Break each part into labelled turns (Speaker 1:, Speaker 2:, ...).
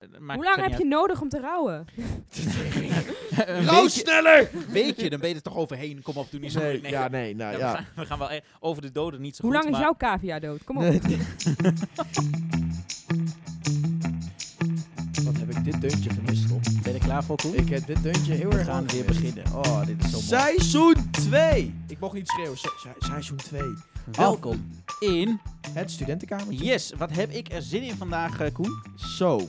Speaker 1: Eh,
Speaker 2: Hoe lang heb je nodig om te rouwen?
Speaker 1: een
Speaker 3: Rouw
Speaker 1: weekje,
Speaker 3: sneller!
Speaker 1: weekje, dan ben je er toch overheen. Kom op, doe niet zo.
Speaker 3: Nee,
Speaker 1: nee.
Speaker 3: ja, nee, nou
Speaker 1: Ja,
Speaker 3: ja.
Speaker 1: We, gaan, we gaan wel e- over de doden niet zo
Speaker 2: Hoe
Speaker 1: goed,
Speaker 2: lang is
Speaker 1: maar-
Speaker 2: jouw cavia dood? Kom op.
Speaker 4: Wat heb ik dit deuntje gemist, op?
Speaker 5: Ben je er klaar voor, Koen?
Speaker 4: Ik heb dit deuntje heel
Speaker 5: We
Speaker 4: erg
Speaker 5: gaan
Speaker 4: lang
Speaker 5: weer
Speaker 4: gemist.
Speaker 5: beginnen. Oh, dit is zo mooi.
Speaker 4: Seizoen 2! Ik mocht niet schreeuwen. Se- se- seizoen 2.
Speaker 5: Welkom.
Speaker 1: in.
Speaker 4: Het studentenkamertje.
Speaker 1: Yes, wat heb ik er zin in vandaag, eh, Koen?
Speaker 4: Zo.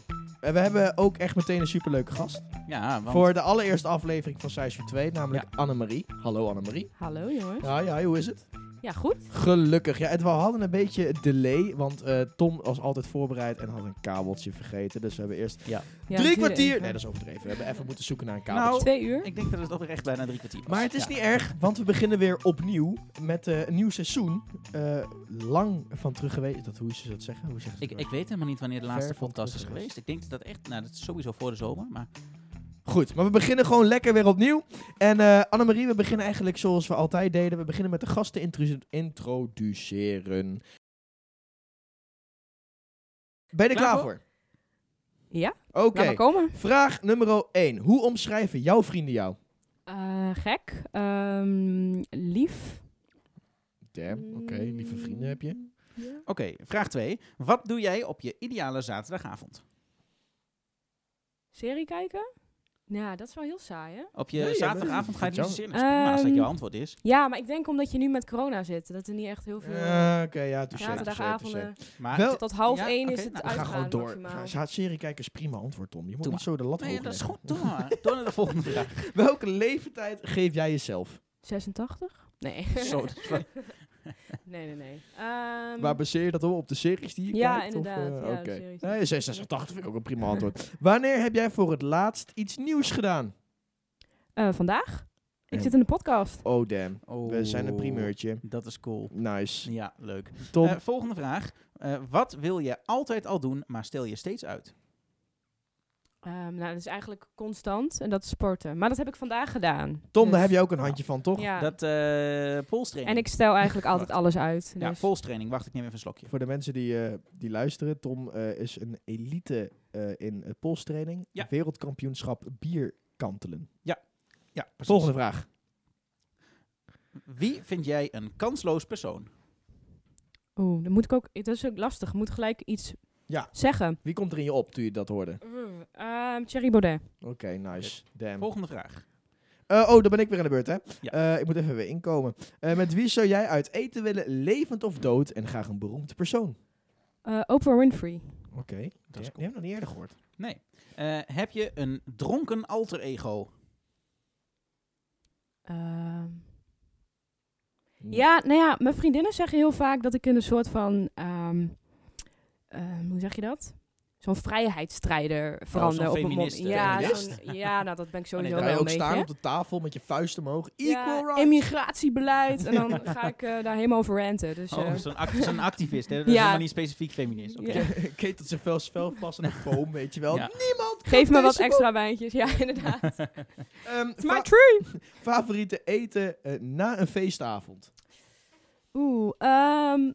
Speaker 4: En we hebben ook echt meteen een superleuke gast.
Speaker 1: Ja, want
Speaker 4: Voor de allereerste aflevering van seizoen 2, namelijk Annemarie. Hallo Annemarie.
Speaker 2: Hallo jongens.
Speaker 4: Ja, ja, hoe is het?
Speaker 2: Ja, goed.
Speaker 4: Gelukkig. Ja, het, we hadden een beetje delay, want eh, Tom was altijd voorbereid en had een kabeltje vergeten. Dus we hebben eerst
Speaker 2: Ja,
Speaker 4: drie
Speaker 2: het duurde
Speaker 4: kwartier...
Speaker 2: even. Oh.
Speaker 4: Nee, dat is overdreven. We hebben even moeten zoeken naar een
Speaker 1: Nou,
Speaker 4: kabeltje.
Speaker 2: Twee uur.
Speaker 1: ik denk dat het oprecht bijna drie kwartier was.
Speaker 4: Maar het is
Speaker 1: Ja.
Speaker 4: niet erg, want we beginnen weer opnieuw met eh, een nieuw seizoen. Eh, lang van terug geweest. Dat, hoe ze dat zeggen? Hoe zeggen ze
Speaker 1: Ik,
Speaker 4: dat?
Speaker 1: ik weet helemaal niet wanneer de
Speaker 4: Ver
Speaker 1: laatste
Speaker 4: van
Speaker 1: podcast is
Speaker 4: terug
Speaker 1: geweest. Ik denk dat dat echt, nou dat is sowieso voor de zomer, maar
Speaker 4: Goed, maar we beginnen gewoon lekker weer opnieuw. En eh Annemarie, we beginnen eigenlijk zoals we altijd deden. We beginnen met de gasten intru- introduceren. Ben je er
Speaker 1: Klaar
Speaker 4: klaar
Speaker 1: voor?
Speaker 4: voor?
Speaker 2: Ja,
Speaker 4: Oké.
Speaker 2: laat maar komen.
Speaker 4: Vraag nummer 1. Hoe omschrijven jouw vrienden jou?
Speaker 2: Eh, gek. Ehm, lief.
Speaker 4: Damn, oké. Lieve vrienden heb je.
Speaker 1: Oké, vraag 2. Wat doe jij op je ideale zaterdagavond?
Speaker 2: Serie kijken? Nou, dat is wel heel saai hè?
Speaker 1: Op je
Speaker 4: Nee, ja,
Speaker 1: zaterdagavond ga je
Speaker 4: dat
Speaker 1: die
Speaker 4: is
Speaker 1: zin. Dat is prima als dat
Speaker 2: Ehm,
Speaker 1: jouw antwoord is.
Speaker 2: Ja, maar ik denk omdat je nu met corona zit, dat er niet echt heel veel... eh,
Speaker 4: Eh, oké, ja, touché, touché, touché.
Speaker 2: Zaterdagavonden.
Speaker 1: Maar
Speaker 4: wel-
Speaker 2: Tot half
Speaker 1: Ja,
Speaker 2: één
Speaker 1: oké,
Speaker 2: is het
Speaker 1: nou,
Speaker 4: We gaan
Speaker 2: uitgaan
Speaker 4: gewoon door.
Speaker 2: maximaal.
Speaker 4: Ga- Serie kijken is prima antwoord, Tom. Je moet
Speaker 1: Doe
Speaker 4: niet zo de lat
Speaker 1: nee,
Speaker 4: hoog
Speaker 1: dat is
Speaker 4: leggen.
Speaker 1: goed. Door, maar. Door naar de volgende vraag.
Speaker 4: Welke leeftijd geef jij jezelf?
Speaker 2: 86? Nee.
Speaker 1: Zo, dat is wel-
Speaker 2: nee, nee, nee. Ehm,
Speaker 4: Waar baseer je dat op? Op de series die je
Speaker 2: Ja,
Speaker 4: kijkt? Of,
Speaker 2: inderdaad.
Speaker 4: eh,
Speaker 2: Ja, de
Speaker 4: oké.
Speaker 2: series.
Speaker 4: Nee, 86 vind ik ook een prima antwoord. Wanneer heb jij voor het laatst iets nieuws gedaan?
Speaker 2: eh, vandaag? Ik
Speaker 4: Ja.
Speaker 2: zit in de podcast.
Speaker 4: Oh damn,
Speaker 1: Oh,
Speaker 4: we zijn een primeurtje.
Speaker 1: Dat is cool.
Speaker 4: Nice.
Speaker 1: Ja, leuk.
Speaker 4: Tom,
Speaker 1: Eh, volgende vraag. Eh, wat wil je altijd al doen, maar stel je steeds uit?
Speaker 2: Ehm, nou, dat is eigenlijk constant en dat is sporten. Maar dat heb ik vandaag gedaan.
Speaker 4: Tom
Speaker 2: Dus-
Speaker 4: daar heb je ook een handje van, toch?
Speaker 2: Ja.
Speaker 1: Dat eh polstraining.
Speaker 2: en ik stel eigenlijk altijd
Speaker 1: Wacht.
Speaker 2: alles uit.
Speaker 1: Ja,
Speaker 2: dus-
Speaker 1: polstraining. Wacht, ik neem even een slokje.
Speaker 4: Voor de mensen die, eh, die luisteren, Tom eh, is een elite eh, in eh, polstraining.
Speaker 1: Ja.
Speaker 4: Wereldkampioenschap bierkantelen.
Speaker 1: Ja, precies.
Speaker 4: Volgende vraag.
Speaker 1: Wie vind jij een kansloos persoon?
Speaker 2: Oeh, dan moet ik ook. Dat is ook lastig. Ik moet gelijk iets
Speaker 4: Ja.
Speaker 2: zeggen.
Speaker 4: Wie komt er in je op toen je dat hoorde?
Speaker 2: Ehm Thierry Baudet.
Speaker 4: Oké, nice. Damn.
Speaker 1: Volgende vraag.
Speaker 4: Eh, oh, dan ben ik weer aan de beurt, hè?
Speaker 1: Ja.
Speaker 4: Eh, ik moet even weer inkomen. Eh, met wie zou jij uit eten willen, levend of dood? En graag een beroemde persoon.
Speaker 2: Eh, Oprah Winfrey.
Speaker 4: Oké,
Speaker 1: Dat is
Speaker 4: Die heb ik nog niet eerder gehoord.
Speaker 1: Nee. Eh, heb je een dronken alter ego?
Speaker 2: Ehm, ja, nou ja, mijn vriendinnen zeggen heel vaak dat ik in een soort van. ehm, ehm, hoe zeg je dat? Zo'n vrijheidsstrijder verander
Speaker 1: zo'n
Speaker 2: op een moment.
Speaker 1: feministe.
Speaker 2: Ja,
Speaker 4: Feminist?
Speaker 2: zo'n- ja, nou dat ben ik sowieso
Speaker 1: dat
Speaker 4: Ga
Speaker 2: wel
Speaker 4: je
Speaker 2: een
Speaker 4: ook
Speaker 2: beetje.
Speaker 4: staan op de tafel met je vuist omhoog? Equal
Speaker 2: ja,
Speaker 4: rights.
Speaker 2: immigratiebeleid. En dan ga ik eh, daar helemaal over ranten. Dus, eh,
Speaker 1: Oh, zo'n act- zo'n activist, hè? Dat
Speaker 2: Ja.
Speaker 1: is helemaal niet specifiek feminist. Oké.
Speaker 2: Ja.
Speaker 4: Kate dat ze fel spel vast aan de boom, weet je wel.
Speaker 1: Ja.
Speaker 4: Niemand
Speaker 2: Geef
Speaker 4: kan
Speaker 2: me wat
Speaker 4: deze
Speaker 2: extra wijntjes. Ja, inderdaad.
Speaker 4: boom. Ehm,
Speaker 2: It's my
Speaker 4: fa-
Speaker 2: tree.
Speaker 4: favoriete eten eh, na een feestavond?
Speaker 2: Oeh, ehm,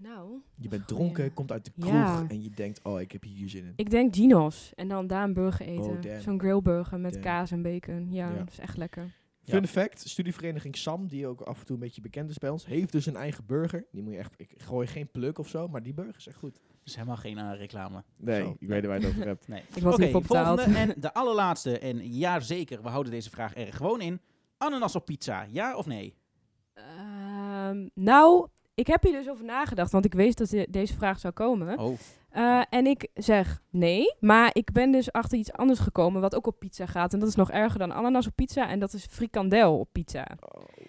Speaker 2: nou,
Speaker 4: Je bent
Speaker 2: Goeie.
Speaker 4: dronken, komt uit de kroeg
Speaker 2: Ja.
Speaker 4: en je denkt, oh, ik heb hier zin in.
Speaker 2: ik denk Gino's. En dan daar een burger
Speaker 4: Oh,
Speaker 2: eten.
Speaker 4: damn.
Speaker 2: Zo'n grillburger met
Speaker 4: Damn.
Speaker 2: kaas en bacon. Ja,
Speaker 4: Ja.
Speaker 2: dat is echt lekker.
Speaker 1: Ja.
Speaker 4: Fun fact, studievereniging SAM, die ook af en toe een beetje bekend is bij ons, heeft dus een eigen burger. Die moet je echt, ik gooi geen pluk of zo, maar die burger is echt goed.
Speaker 1: Dus helemaal geen eh, reclame.
Speaker 4: Nee,
Speaker 1: Zo.
Speaker 4: ik weet waar je het over hebt.
Speaker 1: Nee.
Speaker 2: Ik was
Speaker 1: Oké,
Speaker 2: hiervoor betaald.
Speaker 1: volgende en de allerlaatste. En ja, zeker, we houden deze vraag er gewoon in. Ananas op pizza, ja of nee?
Speaker 2: Ehm, nou, ik heb hier dus over nagedacht. Want ik wist dat de- deze vraag zou komen.
Speaker 1: Oh,
Speaker 2: Eh, en ik zeg nee. Maar ik ben dus achter iets anders gekomen. Wat ook op pizza gaat. En dat is nog erger dan ananas op pizza. En dat is frikandel op pizza.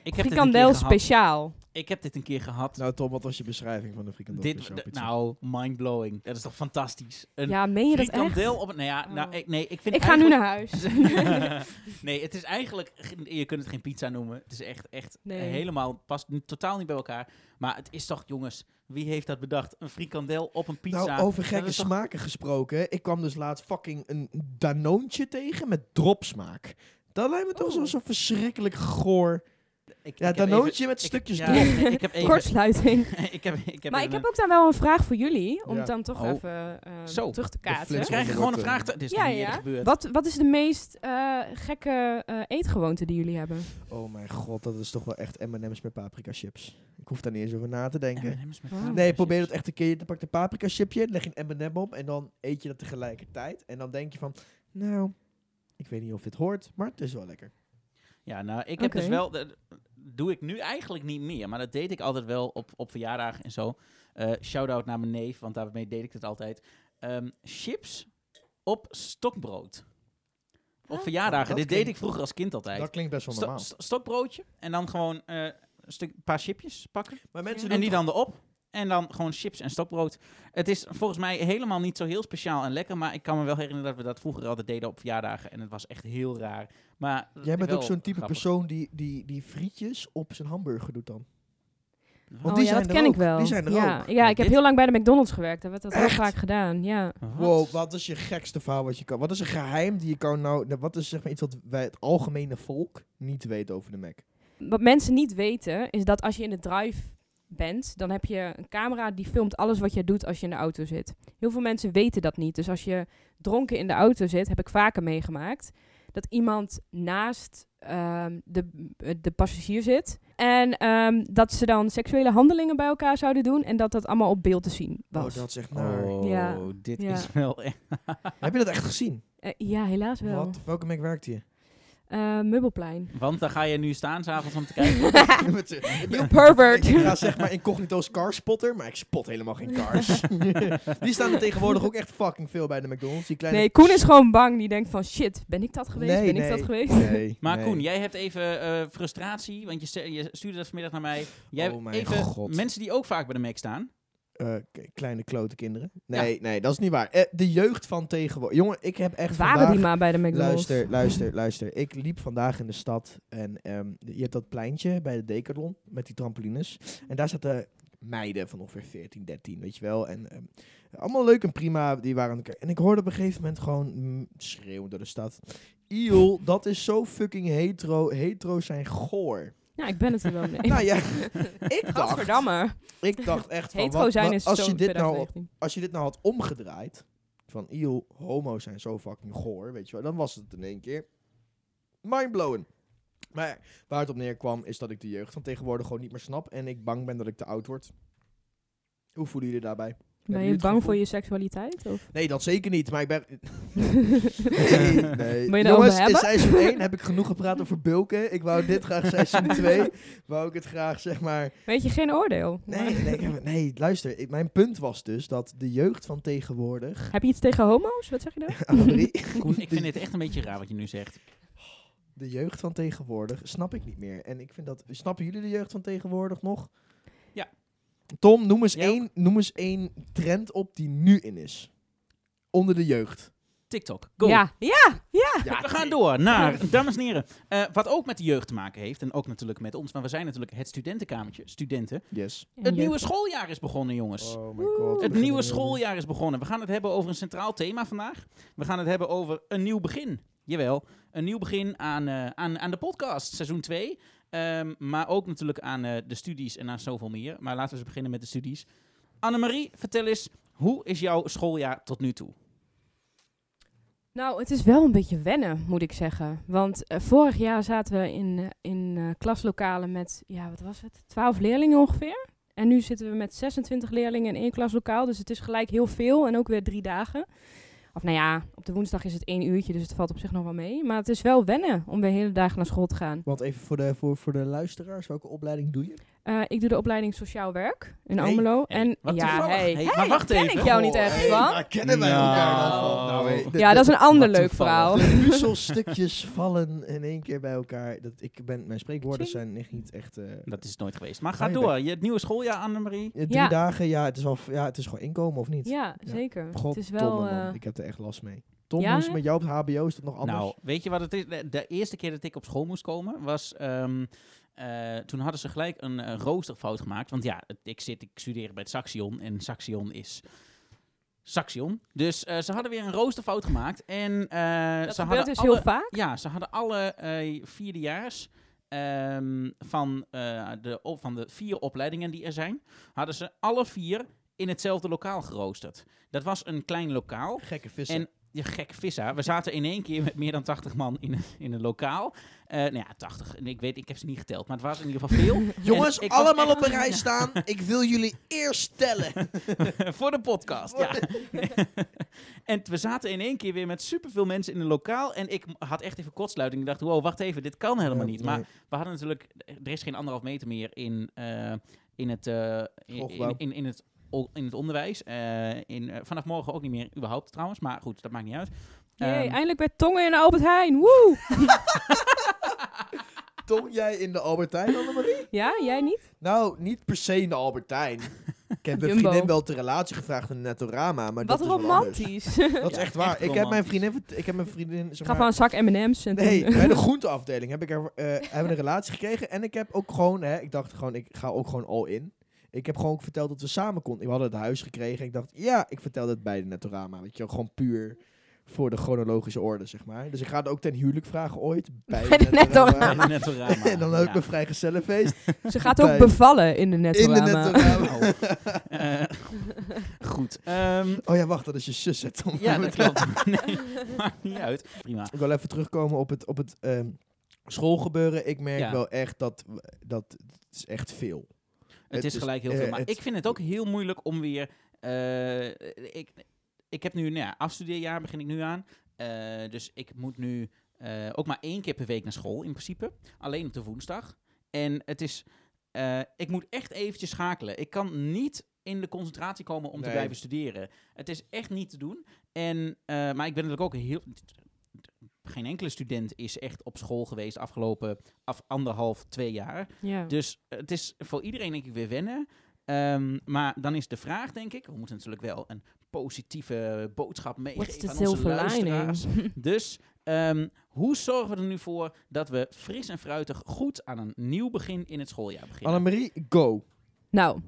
Speaker 1: ik heb, dit een keer
Speaker 2: Frikandel
Speaker 1: gehad.
Speaker 2: speciaal.
Speaker 1: ik heb dit een keer gehad.
Speaker 4: Nou Tom, wat was je beschrijving van de frikandel?
Speaker 1: dit,
Speaker 4: speciaal
Speaker 1: d-
Speaker 4: pizza?
Speaker 1: nou, mindblowing. Dat is toch fantastisch? Een
Speaker 2: Ja, meen je dat echt?
Speaker 1: frikandel op... Nou ja, nou,
Speaker 2: Oh.
Speaker 1: ik, nee, ik vind
Speaker 2: Ik ga nu
Speaker 1: eigenlijk-
Speaker 2: naar huis.
Speaker 1: nee, het is eigenlijk... geen- Je kunt het geen pizza noemen. Het is echt, echt
Speaker 2: Nee.
Speaker 1: helemaal... Past n- totaal niet bij elkaar. Maar het is toch, jongens... Wie heeft dat bedacht? Een frikandel op een pizza.
Speaker 4: Nou, over
Speaker 1: Dat
Speaker 4: gekke
Speaker 1: is toch-
Speaker 4: smaken gesproken. Ik kwam dus laatst fucking een danoontje tegen met dropsmaak. Dat lijkt me toch
Speaker 2: Oh.
Speaker 4: zo'n zo verschrikkelijk goor.
Speaker 1: ik,
Speaker 4: Ja,
Speaker 1: ik heb
Speaker 4: Danoontje
Speaker 1: even-
Speaker 4: met
Speaker 1: ik-
Speaker 4: stukjes
Speaker 1: ja,
Speaker 4: erop.
Speaker 1: ik heb even-
Speaker 2: Kortsluiting.
Speaker 1: ik heb, ik heb
Speaker 2: maar ik
Speaker 1: even
Speaker 2: heb ook dan wel een vraag voor jullie, om
Speaker 4: Ja.
Speaker 2: het dan toch
Speaker 1: Oh.
Speaker 2: even eh,
Speaker 1: Zo,
Speaker 2: terug te
Speaker 1: We
Speaker 4: flits.
Speaker 2: kaatsen.
Speaker 1: krijgen gewoon een vraag. te- Dit is
Speaker 2: Ja,
Speaker 1: nog niet eerder
Speaker 2: ja.
Speaker 1: gebeurd.
Speaker 2: Wat, wat is de meest eh, gekke eh, eetgewoonte die jullie hebben?
Speaker 4: Oh mijn god, dat is toch wel echt M&M's met paprika chips. Ik hoef daar niet eens over na te denken.
Speaker 1: M&M's met
Speaker 2: Nee,
Speaker 4: Nee,
Speaker 1: paprika
Speaker 4: probeer dat
Speaker 1: chips.
Speaker 4: echt een keer. Dan pak je een paprika chipje, leg je een M&M op en dan eet je dat tegelijkertijd. En dan denk je van, nou, ik weet niet of dit hoort, maar het is wel lekker.
Speaker 1: Ja, nou, ik heb
Speaker 2: Oké.
Speaker 1: dus wel... dat doe ik nu eigenlijk niet meer. Maar dat deed ik altijd wel op, op verjaardagen en zo. Eh Shout-out naar mijn neef, want daarmee deed ik het altijd. Ehm, chips op stokbrood. Op
Speaker 2: Ah.
Speaker 1: verjaardagen.
Speaker 4: Oh, Dat
Speaker 1: Dit deed
Speaker 4: klinkt-
Speaker 1: ik vroeger als kind altijd.
Speaker 4: Dat klinkt best wel
Speaker 1: Sto-
Speaker 4: normaal.
Speaker 1: sto- stokbroodje en dan gewoon eh, een stuk, een paar chipjes pakken.
Speaker 2: mensen
Speaker 4: Maar mensen
Speaker 2: Ja.
Speaker 1: En die dan erop. En dan gewoon chips en stokbrood. Het is volgens mij helemaal niet zo heel speciaal en lekker. Maar ik kan me wel herinneren dat we dat vroeger altijd deden op verjaardagen. En het was echt heel raar. Maar
Speaker 4: Jij bent
Speaker 1: wel
Speaker 4: ook zo'n type
Speaker 1: grappig.
Speaker 4: persoon die, die, die frietjes op zijn hamburger doet dan. Want
Speaker 2: oh
Speaker 4: die
Speaker 2: ja,
Speaker 4: zijn
Speaker 2: dat
Speaker 4: er
Speaker 2: ken
Speaker 4: ook.
Speaker 2: ik wel.
Speaker 4: Die zijn er
Speaker 2: ja,
Speaker 4: ook.
Speaker 2: ja, ik heb
Speaker 1: dit-
Speaker 2: heel lang bij de McDonald's gewerkt. Daar werd dat heel vaak gedaan, ja.
Speaker 4: Wow, wat is je gekste verhaal wat je kan... Wat is een geheim die je kan nou... nou, Wat is zeg maar iets wat wij het algemene volk niet weet over de Mac?
Speaker 2: Wat mensen niet weten, is dat als je in de drive bent, dan heb je een camera die filmt alles wat je doet als je in de auto zit. Heel veel mensen weten dat niet. Dus als je dronken in de auto zit, heb ik vaker meegemaakt, dat iemand naast ehm, de, de passagier zit. En ehm, dat ze dan seksuele handelingen bij elkaar zouden doen en dat dat allemaal op beeld te zien was.
Speaker 4: is echt
Speaker 1: Oh,
Speaker 2: Ja.
Speaker 1: dit
Speaker 2: Ja.
Speaker 1: is wel e- echt...
Speaker 4: Heb je dat echt gezien?
Speaker 2: Eh, ja, helaas wel.
Speaker 4: Wat? Welke Mac werkt hier?
Speaker 2: Eh, Mubbelplein.
Speaker 1: Want dan ga je nu staan s'avonds om te kijken.
Speaker 2: You pervert.
Speaker 4: Ik ga zeg maar incognito's carspotter, maar ik spot helemaal geen cars. die staan er tegenwoordig ook echt fucking veel bij de McDonald's. Die kleine
Speaker 2: Nee, Koen is gewoon bang. Die denkt van, shit, ben ik dat geweest?
Speaker 4: Nee,
Speaker 2: ben
Speaker 4: nee.
Speaker 2: ik dat geweest?
Speaker 4: Nee,
Speaker 1: Maar
Speaker 4: nee.
Speaker 1: Koen, jij hebt even eh, frustratie, want je, ste- je stuurde dat vanmiddag naar mij. Jij
Speaker 4: Oh mijn
Speaker 1: even
Speaker 4: god.
Speaker 1: mensen die ook vaak bij de Mac staan.
Speaker 4: Eh, k- kleine klote kinderen. Nee, nee, dat is niet waar. Eh, de jeugd van tegenwoordig. Jongen, ik heb echt
Speaker 2: Waren
Speaker 4: vandaag...
Speaker 2: die maar bij de McDonald's?
Speaker 4: Luister, luister, luister. Ik liep vandaag in de stad en ehm, je hebt dat pleintje bij de Decathlon met die trampolines. En daar zaten meiden van ongeveer 14, 13, weet je wel. En ehm, allemaal leuk en prima, die waren aan elkaar. En ik hoorde op een gegeven moment gewoon mm, schreeuwen door de stad. Iel, dat is zo fucking hetero. Hetero's zijn goor.
Speaker 2: Ja, ik ben het er wel mee.
Speaker 4: nou ja, ik dacht,
Speaker 2: Gadverdamme.
Speaker 4: ik dacht echt van...
Speaker 2: Hetero
Speaker 4: wat-
Speaker 2: zijn
Speaker 4: wat-
Speaker 2: is
Speaker 4: als
Speaker 2: zo
Speaker 4: je dit nou
Speaker 2: 2019.
Speaker 4: als je dit nou had omgedraaid, van eeuw, homo's zijn zo fucking goor, weet je wel, dan was het in één keer mindblowing. Maar waar het op neerkwam is dat ik de jeugd van tegenwoordig gewoon niet meer snap en ik bang ben dat ik te oud word. Hoe voelen jullie daarbij?
Speaker 2: Ben je
Speaker 4: Hebben jullie het
Speaker 2: bang voor je
Speaker 4: gevoel?
Speaker 2: seksualiteit? Of?
Speaker 4: Nee, dat zeker niet, maar ik ben... nee, nee.
Speaker 2: Wil je
Speaker 4: Jongens,
Speaker 2: daarover
Speaker 4: in
Speaker 2: hebben?
Speaker 4: seizoen 1 heb ik genoeg gepraat over bulken. Ik wou dit graag seizoen 2, wou ik het graag, zeg maar,
Speaker 2: Weet je, geen oordeel.
Speaker 4: Nee, nee, ik heb- nee luister. ik- mijn punt was dus dat de jeugd van tegenwoordig...
Speaker 2: Heb je iets tegen homo's? Wat zeg je dan?
Speaker 4: Annemarie,
Speaker 1: Koen, ik
Speaker 4: de,
Speaker 1: vind dit echt een beetje raar wat je nu zegt.
Speaker 4: de jeugd van tegenwoordig snap ik niet meer. En ik vind dat... Snappen jullie de jeugd van tegenwoordig nog?
Speaker 1: Ja.
Speaker 4: Tom, noem eens,
Speaker 1: Jij ook?
Speaker 4: één, noem eens één trend op die nu in is. Onder de jeugd.
Speaker 1: TikTok, go.
Speaker 2: Ja, ja, ja.
Speaker 1: We gaan door naar, dames en heren, eh, wat ook met de jeugd te maken heeft. En ook natuurlijk met ons, maar we zijn natuurlijk het studentenkamertje, studenten.
Speaker 4: Yes.
Speaker 1: Het nieuwe schooljaar is begonnen, jongens.
Speaker 4: Oh
Speaker 2: my god,
Speaker 1: Het nieuwe schooljaar is begonnen. We gaan het hebben over een centraal thema vandaag. We gaan het hebben over een nieuw begin. Jawel, een nieuw begin aan, eh, aan, aan de podcast, seizoen 2. maar ook natuurlijk aan eh, de studies en aan zoveel meer. Maar laten we eens beginnen met de studies. Annemarie, vertel eens, hoe is jouw schooljaar tot nu toe?
Speaker 2: Nou, het is wel een beetje wennen, moet ik zeggen. Want eh, vorig jaar zaten we in, eh, in eh, klaslokalen met, ja, wat was het? 12 leerlingen ongeveer. En nu zitten we met 26 leerlingen in één klaslokaal. Dus het is gelijk heel veel en ook weer drie dagen. Of nou ja, op de woensdag is het één uurtje, dus het valt op zich nog wel mee. Maar het is wel wennen om weer hele dagen naar school te gaan.
Speaker 4: Want even voor de, voor, voor de luisteraars, welke opleiding doe je?
Speaker 2: Eh, ik doe de opleiding sociaal werk in
Speaker 4: Hey,
Speaker 2: Almelo.
Speaker 1: hey,
Speaker 2: en
Speaker 1: wat
Speaker 2: ja,
Speaker 1: toevallig.
Speaker 2: hey,
Speaker 1: Hey,
Speaker 2: hey,
Speaker 1: maar wacht
Speaker 2: ken
Speaker 1: even.
Speaker 2: ik jou niet
Speaker 4: Oh,
Speaker 2: echt
Speaker 4: hey,
Speaker 2: van?
Speaker 4: daar kennen wij
Speaker 1: Nou.
Speaker 4: elkaar dan van. hey, de-
Speaker 2: Ja,
Speaker 4: de-
Speaker 2: dat is een ander
Speaker 1: wat
Speaker 2: leuk
Speaker 1: toevallig.
Speaker 2: verhaal.
Speaker 4: De puzzelstukjes vallen in één keer bij elkaar. Dat ik ben, mijn spreekwoorden
Speaker 2: Tjing.
Speaker 4: zijn echt niet echt... eh,
Speaker 1: Dat is nooit geweest. Maar
Speaker 4: Ga
Speaker 1: ga
Speaker 4: je
Speaker 1: door. Je, het nieuwe schooljaar, Annemarie.
Speaker 4: eh, drie
Speaker 2: Ja.
Speaker 4: dagen, ja het, is al, ja, het is gewoon inkomen of niet?
Speaker 2: Ja,
Speaker 4: Ja.
Speaker 2: zeker.
Speaker 4: God,
Speaker 2: het is wel...
Speaker 4: man.
Speaker 2: eh,
Speaker 4: ik heb er echt last mee. Tom,
Speaker 2: Ja,
Speaker 4: hoe is het
Speaker 2: hè?
Speaker 4: met jou op het hbo? Is dat nog anders?
Speaker 1: Nou, weet je wat het is? De, de eerste keer dat ik op school moest komen was. ehm, eh, toen hadden ze gelijk een eh, roosterfout gemaakt. Want ja, het- ik, zit, ik studeer bij het Saxion en Saxion is. Saxion. Dus eh, ze hadden weer een roosterfout gemaakt. En eh,
Speaker 2: dat
Speaker 1: ze
Speaker 2: gebeurt
Speaker 1: hadden.
Speaker 2: dus
Speaker 1: alle-
Speaker 2: heel vaak.
Speaker 1: ja, ze hadden alle eh, vierdejaars ehm, van, eh, de, op- van de vier opleidingen die er zijn, hadden ze alle vier in hetzelfde lokaal geroosterd. Dat was een klein lokaal.
Speaker 4: Gekke vissen.
Speaker 1: En je gek vissa. We zaten in één keer met meer dan 80 man in een, in een lokaal. Eh nou ja, 80. En Ik weet, ik heb ze niet geteld, maar het was in ieder geval veel.
Speaker 4: Jongens,
Speaker 1: en ik was
Speaker 4: allemaal
Speaker 1: echt-
Speaker 4: op een rij staan. Ik wil jullie eerst tellen.
Speaker 1: voor de podcast, ja. en t- we zaten in één keer weer met superveel mensen in een lokaal. En ik m- had echt even kortsluiting. Ik dacht, wow, wacht even, dit kan helemaal
Speaker 4: Ja,
Speaker 1: niet. Maar
Speaker 4: nee.
Speaker 1: we hadden natuurlijk... Er is geen anderhalf meter meer in, eh, in, het, eh, in,
Speaker 4: Schoolgebouw.
Speaker 1: in, in, in het o- in het onderwijs. Eh, in, eh, vanaf morgen ook niet meer, überhaupt trouwens. Maar goed, dat maakt niet uit.
Speaker 2: Jee,
Speaker 1: Ehm,
Speaker 2: eindelijk bij Tongen en Albert Heijn. Woe!
Speaker 4: Tong jij in de Albertijn, Annemarie?
Speaker 2: Ja, jij niet?
Speaker 4: Nou, niet per se in de Albertijn. Ik heb mijn
Speaker 2: Jumbo.
Speaker 4: vriendin wel ter relatie gevraagd in de Nettorama, maar
Speaker 2: Wat
Speaker 4: dat is wel anders.
Speaker 2: romantisch.
Speaker 4: Dat is
Speaker 1: Ja,
Speaker 4: echt waar.
Speaker 1: echt
Speaker 4: ik heb mijn
Speaker 1: romantisch.
Speaker 4: vriendin, vert- ik heb mijn vriendin,
Speaker 2: Ik
Speaker 4: zeg
Speaker 2: ga
Speaker 4: maar,
Speaker 2: van een zak M&M's. en
Speaker 4: Nee,
Speaker 2: toen-
Speaker 4: bij de groenteafdeling heb ik er, eh, hebben we een relatie gekregen. En ik heb ook gewoon, hè, ik dacht gewoon, ik ga ook gewoon all in. Ik heb gewoon verteld dat we samen konden. We hadden het huis gekregen. Ik dacht, ja, ik vertel het bij de Nettorama. Weet je, wel, gewoon puur voor de chronologische orde, zeg maar. Dus ik ga het ook ten huwelijk vragen ooit. Bij
Speaker 2: Bij
Speaker 4: de
Speaker 2: de
Speaker 1: bij
Speaker 4: Nettorama.
Speaker 1: de Nettorama.
Speaker 4: En dan ook
Speaker 1: Ja.
Speaker 4: een vrijgezellenfeest
Speaker 2: eh, Ze gaat ook
Speaker 4: bij-
Speaker 2: bevallen in de
Speaker 4: in de
Speaker 2: Nettorama.
Speaker 4: Nettorama.
Speaker 1: Oh. Eh, goed. Ehm,
Speaker 4: Oh ja, wacht, dat is je zus, hè, Tom.
Speaker 1: ja, dat klopt. Nee, maakt niet uit. Prima.
Speaker 4: Ik wil even terugkomen op het, op het ehm, schoolgebeuren. Ik merk
Speaker 1: Ja.
Speaker 4: wel echt dat, dat het is echt veel.
Speaker 1: Het
Speaker 4: Het
Speaker 1: is
Speaker 4: is,
Speaker 1: gelijk heel
Speaker 4: eh,
Speaker 1: veel. Maar
Speaker 4: het-
Speaker 1: ik vind het ook heel moeilijk om weer... eh, ik, ik heb nu... Nou ja, afstudeerjaar begin ik nu aan. Eh, dus ik moet nu eh, ook maar één keer per week naar school in principe. Alleen op de woensdag. En het is... eh, ik moet echt eventjes schakelen. Ik kan niet in de concentratie komen om te
Speaker 4: Nee.
Speaker 1: blijven studeren. Het is echt niet te doen. En, eh, maar ik ben natuurlijk ook heel... Geen enkele student is echt op school geweest afgelopen af anderhalf, twee jaar.
Speaker 2: Ja.
Speaker 1: Dus eh, het is voor iedereen denk ik weer wennen. Ehm, maar dan is de vraag, denk ik, we moeten natuurlijk wel een positieve boodschap
Speaker 2: What's
Speaker 1: meegeven
Speaker 2: the
Speaker 1: aan onze
Speaker 2: silver
Speaker 1: luisteraars.
Speaker 2: lining?
Speaker 1: Dus ehm, hoe zorgen we er nu voor dat we fris en fruitig goed aan een nieuw begin in het schooljaar beginnen?
Speaker 4: Annemarie, go.
Speaker 2: Nou,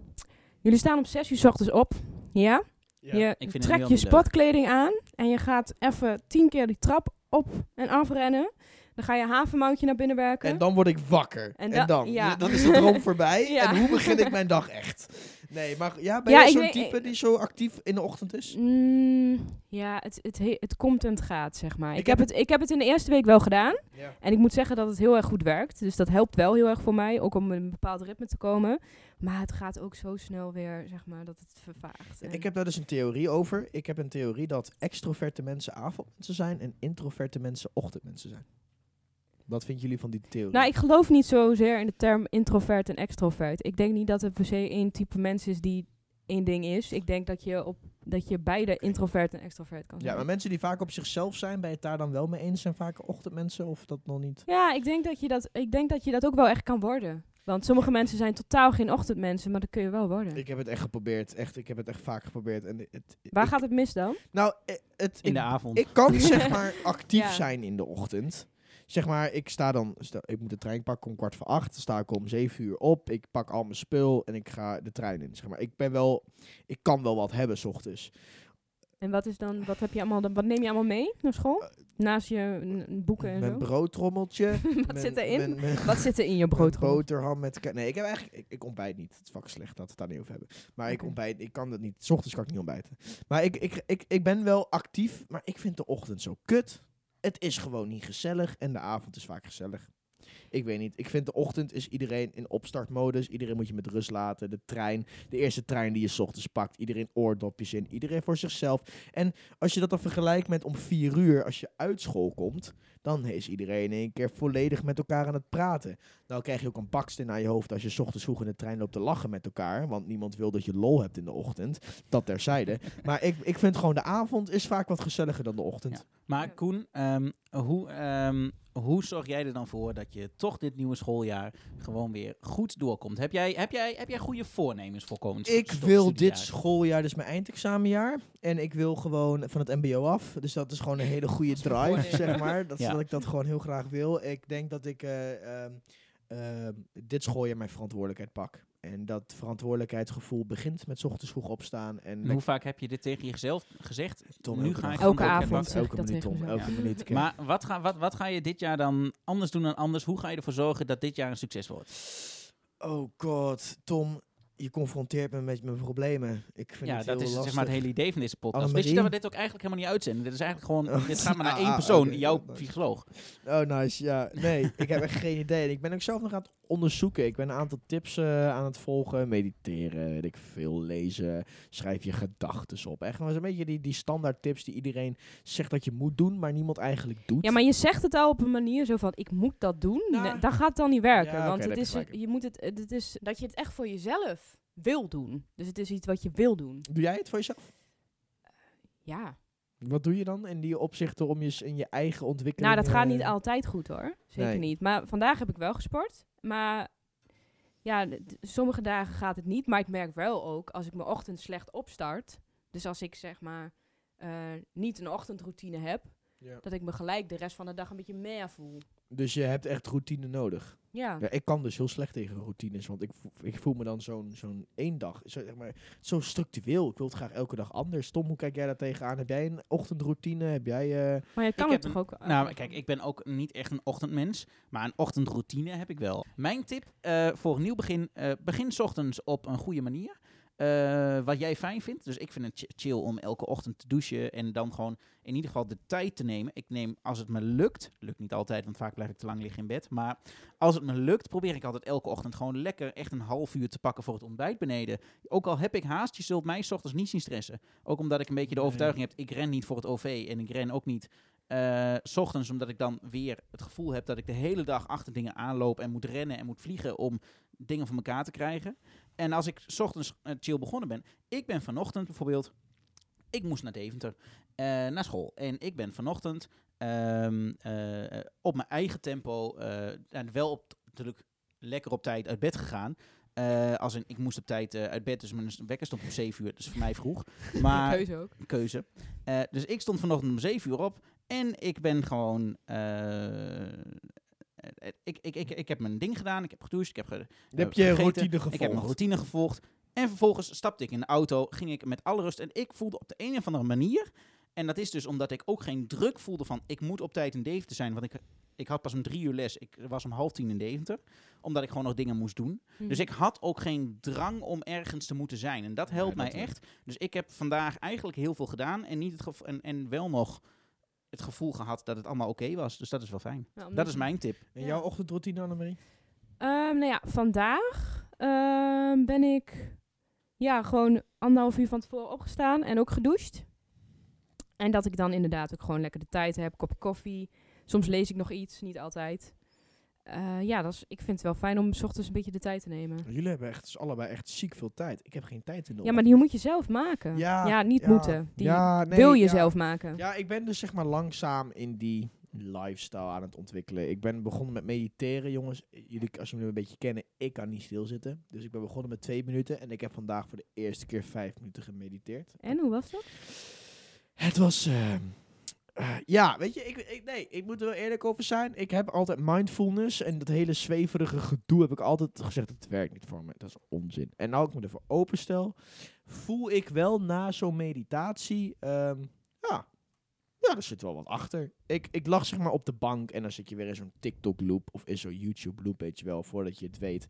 Speaker 2: jullie staan om 6 uur 's ochtends op. Ja?
Speaker 4: Ja.
Speaker 2: Je
Speaker 1: vind het
Speaker 2: trekt
Speaker 1: heel
Speaker 2: je
Speaker 1: niet leuk.
Speaker 2: sportkleding aan en je gaat even 10 keer die trap op en afrennen. Dan ga je havenmoutje naar binnen werken.
Speaker 4: En dan word ik wakker.
Speaker 2: En
Speaker 4: En,
Speaker 2: da-
Speaker 4: dan,
Speaker 2: ja.
Speaker 4: ja. dan is de droom voorbij.
Speaker 2: Ja.
Speaker 4: En hoe begin ik mijn dag echt? Nee, maar ja, ben
Speaker 2: Ja,
Speaker 4: jij
Speaker 2: ik
Speaker 4: zo'n
Speaker 2: weet-
Speaker 4: type
Speaker 2: ik-
Speaker 4: die zo actief in de ochtend is?
Speaker 2: Mm, ja, het, het, he- het komt en het gaat, zeg maar. Ik,
Speaker 4: Ik
Speaker 2: heb
Speaker 4: heb
Speaker 2: het, ik heb het in de eerste week wel gedaan.
Speaker 4: Ja.
Speaker 2: En ik moet zeggen dat het heel erg goed werkt. Dus dat helpt wel heel erg voor mij, ook om in een bepaald ritme te komen. Maar het gaat ook zo snel weer, zeg maar, dat het vervaagt. En-
Speaker 4: Ik heb daar dus een theorie over. Ik heb een theorie dat extroverte mensen avondmensen zijn en introverte mensen ochtendmensen zijn. Wat vinden jullie van die theorie?
Speaker 2: Nou, ik geloof niet zozeer in de term introvert en extrovert. Ik denk niet dat er per se één type mens is die één ding is. Ik denk dat je, op, dat je beide introvert en extrovert kan zijn.
Speaker 4: ja, maar mensen die vaak op zichzelf zijn, ben je het daar dan wel mee eens? Zijn vaak ochtendmensen of dat nog niet?
Speaker 2: Ja, ik denk, dat je dat, ik denk dat je dat ook wel echt kan worden. Want sommige mensen zijn totaal geen ochtendmensen, maar dat kun je wel worden.
Speaker 4: Ik heb het echt geprobeerd. Echt, ik heb het echt vaak geprobeerd. En het,
Speaker 2: Waar
Speaker 4: ik-
Speaker 2: gaat het mis dan?
Speaker 4: Nou, eh, het,
Speaker 1: in
Speaker 4: ik
Speaker 1: de avond.
Speaker 4: Ik kan zeg maar actief
Speaker 2: Ja.
Speaker 4: zijn in de ochtend. Zeg maar, ik sta dan, stel, ik moet de trein pakken om kwart voor acht. Dan sta ik om zeven uur op. Ik pak al mijn spul en ik ga de trein in. Zeg maar, ik ben wel, ik kan wel wat hebben 's ochtends.
Speaker 2: En wat is dan, wat heb je allemaal, dan- wat neem je allemaal mee naar school? Naast je n- n- boeken en
Speaker 4: Eh, Mijn
Speaker 2: zo?
Speaker 4: broodtrommeltje.
Speaker 2: Wat
Speaker 4: mijn-
Speaker 2: zit erin?
Speaker 4: mijn- mijn-
Speaker 2: Wat zit er in je
Speaker 4: mijn
Speaker 2: broodrol?
Speaker 4: boterham met... ka- Nee, ik heb eigenlijk... Ik, ik ontbijt niet. Het is fucking slecht dat we het daar niet over hebben. Maar ik
Speaker 2: Oké.
Speaker 4: ontbijt... Ik kan dat niet. 's ochtends kan ik niet ontbijten. Maar ik, ik, ik, ik ben wel actief. Maar ik vind de ochtend zo kut. Het is gewoon niet gezellig. En de avond is vaak gezellig. Ik weet niet. Ik vind de ochtend is iedereen in opstartmodus. Iedereen moet je met rust laten. De trein. De eerste trein die je 's ochtends pakt. Iedereen oordopjes in. Iedereen voor zichzelf. En als je dat dan vergelijkt met om vier uur. Als je uit school komt. Dan is iedereen in één keer volledig met elkaar aan het praten. Nou krijg je ook een baksteen naar je hoofd als je 's ochtends vroeg in de trein loopt te lachen met elkaar. Want niemand wil dat je lol hebt in de ochtend. Dat terzijde. maar ik, ik vind gewoon de avond is vaak wat gezelliger dan de ochtend.
Speaker 1: Maar Koen, ehm, hoe, ehm, hoe zorg jij er dan voor dat je toch dit nieuwe schooljaar gewoon weer goed doorkomt? Heb jij, heb jij, heb jij goede voornemens voor komend
Speaker 4: Ik
Speaker 1: stu-
Speaker 4: wil
Speaker 1: studiejaar?
Speaker 4: dit schooljaar, dus mijn eindexamenjaar. En ik wil gewoon van het mbo af. Dus dat is gewoon een hele goede
Speaker 2: is mijn
Speaker 4: drive,
Speaker 2: voornemen.
Speaker 4: zeg maar. Dat is
Speaker 1: Ja.
Speaker 4: dat ik dat gewoon heel graag wil. Ik denk dat ik eh, ehm, ehm, dit schooljaar mijn verantwoordelijkheid pak. En dat verantwoordelijkheidsgevoel begint met 's ochtends vroeg opstaan. En
Speaker 1: En hoe vaak heb je dit tegen jezelf gezegd?
Speaker 4: Tom,
Speaker 1: nu
Speaker 4: elke
Speaker 1: ga
Speaker 4: dag.
Speaker 1: ik
Speaker 2: Elke
Speaker 1: gewoon
Speaker 2: avond.
Speaker 1: bakken.
Speaker 2: zeg ik
Speaker 4: elke
Speaker 2: dat
Speaker 4: minuut,
Speaker 2: tegen
Speaker 4: Tom.
Speaker 2: mezelf.
Speaker 4: Elke minuut. Ken.
Speaker 1: Maar wat ga, wat, wat ga je dit jaar dan anders doen dan anders? Hoe ga je ervoor zorgen dat dit jaar een succes wordt?
Speaker 4: Oh god, Tom, je confronteert me met mijn problemen. Ik vind
Speaker 1: ja,
Speaker 4: het
Speaker 1: dat
Speaker 4: heel
Speaker 1: is
Speaker 4: lastig.
Speaker 1: zeg maar het hele idee van deze podcast. Weet je
Speaker 4: Annemarie?
Speaker 1: dat we dit ook eigenlijk helemaal niet uitzenden? Dit is eigenlijk gewoon,
Speaker 4: Oh,
Speaker 1: dit gaat maar naar
Speaker 4: ah,
Speaker 1: één
Speaker 4: ah,
Speaker 1: persoon,
Speaker 4: oké,
Speaker 1: jouw
Speaker 4: nice.
Speaker 1: psycholoog.
Speaker 4: Oh, nice. Ja, nee, ik heb echt geen idee. En ik ben ook zelf nog aan het onderzoeken. Ik ben een aantal tips eh, aan het volgen. Mediteren, weet ik veel, lezen. Schrijf je gedachten op. Echt, dat is een beetje die, die standaard tips die iedereen zegt dat je moet doen, maar niemand eigenlijk doet.
Speaker 2: Ja, maar je zegt het al op een manier zo van, ik moet dat doen.
Speaker 4: Nou.
Speaker 2: Nee, dat gaat dan niet werken.
Speaker 4: Ja, oké,
Speaker 2: want het
Speaker 4: daar heb
Speaker 2: is,
Speaker 4: je gelijk in.
Speaker 2: je moet het, het is dat je het echt voor jezelf wil doen. Dus het is iets wat je wil doen.
Speaker 4: Doe jij het voor jezelf?
Speaker 2: Ja.
Speaker 4: Wat doe je dan in die opzichten om je s- in je eigen ontwikkeling...
Speaker 2: Nou, dat gaat niet
Speaker 4: eh,
Speaker 2: altijd goed hoor. Zeker
Speaker 4: Nee.
Speaker 2: niet. Maar vandaag heb ik wel gesport. Maar ja, d- d- sommige dagen gaat het niet. Maar ik merk wel ook als ik mijn ochtend slecht opstart. Dus als ik zeg maar eh, niet een ochtendroutine heb,
Speaker 4: Ja.
Speaker 2: dat ik me gelijk de rest van de dag een beetje meer voel.
Speaker 4: Dus je hebt echt routine nodig.
Speaker 2: Ja.
Speaker 4: Ja, ik kan dus heel slecht tegen routines, want ik, vo- ik voel me dan zo'n zo'n één dag, zo, zeg maar, zo structureel. Ik wil het graag elke dag anders. Tom, hoe kijk jij daar tegenaan? Heb jij een ochtendroutine? Heb jij... eh,
Speaker 2: Maar je kan
Speaker 1: heb
Speaker 2: het toch
Speaker 1: een-
Speaker 2: ook.
Speaker 1: Nou, kijk, ik ben ook niet echt een ochtendmens, maar een ochtendroutine heb ik wel. Mijn tip eh, voor een nieuw begin, eh, begin 's ochtends op een goede manier. Eh, wat jij fijn vindt. Dus ik vind het ch- chill om elke ochtend te douchen en dan gewoon in ieder geval de tijd te nemen. Ik neem, als het me lukt, lukt niet altijd, want vaak blijf ik te lang liggen in bed. Maar als het me lukt, probeer ik altijd elke ochtend gewoon lekker echt een half uur te pakken voor het ontbijt beneden. Ook al heb ik haast, je zult mij 's ochtends niet zien stressen. Ook omdat ik een beetje de
Speaker 4: Nee.
Speaker 1: overtuiging heb, ik ren niet voor het OV en ik ren ook niet eh, 's ochtends, omdat ik dan weer het gevoel heb dat ik de hele dag achter dingen aanloop en moet rennen en moet vliegen om dingen voor elkaar te krijgen. En als ik 's ochtends eh, chill begonnen ben, ik ben vanochtend bijvoorbeeld, ik moest naar Deventer, eh, naar school. En ik ben vanochtend ehm, eh, op mijn eigen tempo, eh, en wel op, natuurlijk lekker op tijd uit bed gegaan. Eh, als in, ik moest op tijd eh, uit bed, dus mijn wekker stond om 7 uur, dus voor mij vroeg. Maar
Speaker 2: keuze ook.
Speaker 1: keuze. Eh, dus ik stond vanochtend om 7 uur op en ik ben gewoon. eh, eh, ik, ik, ik, ik heb mijn ding gedaan, ik heb gedoucht, ik heb ge-
Speaker 4: heb je
Speaker 1: gegeten,
Speaker 4: routine
Speaker 1: ik heb mijn
Speaker 4: gevolgd?
Speaker 1: routine gevolgd. En vervolgens stapte ik in de auto, ging ik met alle rust. En ik voelde op de een of andere manier. En dat is dus omdat ik ook geen druk voelde van ik moet op tijd in Deventer zijn. Want ik, ik had pas om drie uur les. Ik was om half tien in Deventer. Omdat ik gewoon nog dingen moest doen.
Speaker 4: Mhm.
Speaker 1: Dus
Speaker 2: Hm.
Speaker 1: ik had ook geen drang om ergens te moeten zijn. En dat
Speaker 4: Nee,
Speaker 1: helpt
Speaker 4: dat
Speaker 1: mij
Speaker 4: wel.
Speaker 1: echt. Dus ik heb vandaag eigenlijk heel veel gedaan. En, niet het gevo- en, en wel nog het gevoel gehad dat het allemaal oké was. Dus dat is wel fijn.
Speaker 2: Nou,
Speaker 1: Dat
Speaker 2: omdat je-
Speaker 1: is mijn tip.
Speaker 4: En
Speaker 2: Ja.
Speaker 4: jouw ochtendroutine, Annemarie?
Speaker 2: Ehm, nou ja, vandaag ehm, ben ik ja, gewoon anderhalf uur van tevoren opgestaan en ook gedoucht. En dat ik dan inderdaad ook gewoon lekker de tijd heb, kopje koffie. Soms lees ik nog iets, niet altijd. Eh, ja, dat is, ik vind het wel fijn om 's ochtends een beetje de tijd te nemen.
Speaker 4: Jullie hebben echt, dus allebei echt ziek veel tijd. Ik heb geen tijd in de
Speaker 2: Ja, maar die moet je zelf maken.
Speaker 4: Ja,
Speaker 2: niet
Speaker 4: ja,
Speaker 2: moeten. Die
Speaker 4: ja, nee,
Speaker 2: wil je
Speaker 4: ja.
Speaker 2: zelf maken.
Speaker 4: Ja, ik ben dus zeg maar langzaam in die lifestyle aan het ontwikkelen. Ik ben begonnen met mediteren, jongens. Jullie, als jullie me een beetje kennen, ik kan niet stilzitten. Dus ik ben begonnen met twee minuten en ik heb vandaag voor de eerste keer vijf minuten gemediteerd.
Speaker 2: En hoe was dat?
Speaker 4: Het was. eh, eh, ja, weet je, ik, ik, nee, ik moet er wel eerlijk over zijn. Ik heb altijd mindfulness en dat hele zweverige gedoe heb ik altijd gezegd, het werkt niet voor me. Dat is onzin. En nou ik me ervoor openstel, voel ik wel na zo'n meditatie, ehm, ja, ja, er zit wel wat achter. Ik, ik lag zeg maar op de bank en dan zit je weer in zo'n TikTok-loop of in zo'n YouTube-loop, weet je wel. Voordat je het weet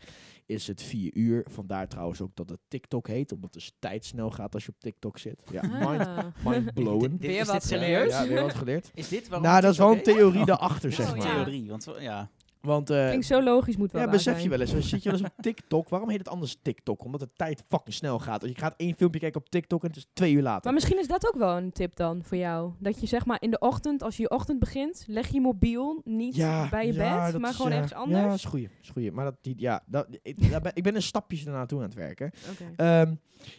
Speaker 4: is het vier uur. Vandaar trouwens ook dat het TikTok heet, omdat dus tijd snel gaat als je op TikTok zit. Ja, mind,
Speaker 2: Ah.
Speaker 4: mind blown.
Speaker 2: Weer
Speaker 1: is
Speaker 2: wat
Speaker 1: dit serieus?
Speaker 4: Ja, ja, weer wat geleerd.
Speaker 1: Is dit waarom
Speaker 4: Nou, dat is wel een
Speaker 1: TikTok
Speaker 4: theorie
Speaker 1: heet?
Speaker 4: daarachter,
Speaker 2: Oh,
Speaker 4: zeg
Speaker 2: ja.
Speaker 4: maar.
Speaker 1: Theorie, want we- ja.
Speaker 4: Want, eh,
Speaker 2: Klinkt zo logisch, moet wel
Speaker 4: ja,
Speaker 2: waar
Speaker 4: besef je
Speaker 2: zijn.
Speaker 4: wel eens. Dan zit je wel eens op TikTok. Waarom heet het anders TikTok? Omdat de tijd fucking snel gaat. Als je gaat één filmpje kijken op TikTok en het is twee uur later.
Speaker 2: Maar misschien is dat ook wel een tip dan voor jou. Dat je zeg maar in de ochtend, als je je ochtend begint, leg je mobiel niet bij je
Speaker 4: ja,
Speaker 2: bed,
Speaker 4: dat
Speaker 2: maar
Speaker 4: is,
Speaker 2: gewoon
Speaker 4: ja.
Speaker 2: ergens anders.
Speaker 4: Ja, dat is goeie. dat is goeie. Maar dat, die, ja, dat, ik, daar ben, ik ben een stapje ernaartoe aan het werken.
Speaker 2: Oké.
Speaker 4: Ehm,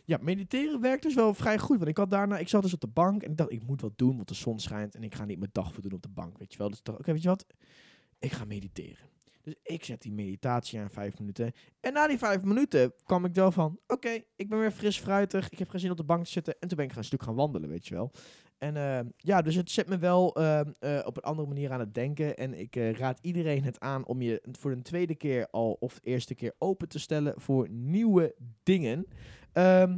Speaker 4: ja, mediteren werkt dus wel vrij goed. Want ik had daarna, ik zat dus op de bank en ik dacht, ik moet wat doen, want de zon schijnt en ik ga niet mijn dag verdoen op de bank, weet je wel. Dus ik dacht, oké, weet je wat, ik ga mediteren. Dus ik zet die meditatie aan vijf minuten. En na die vijf minuten kwam ik wel van, oké, ik ben weer fris fruitig, ik heb geen zin op de bank te zitten. En toen ben ik gaan een stuk gaan wandelen, weet je wel. En ehm, ja, dus het zet me wel ehm, eh, op een andere manier aan het denken. En ik eh, raad iedereen het aan om je voor een tweede keer al of de eerste keer open te stellen voor nieuwe dingen. Ehm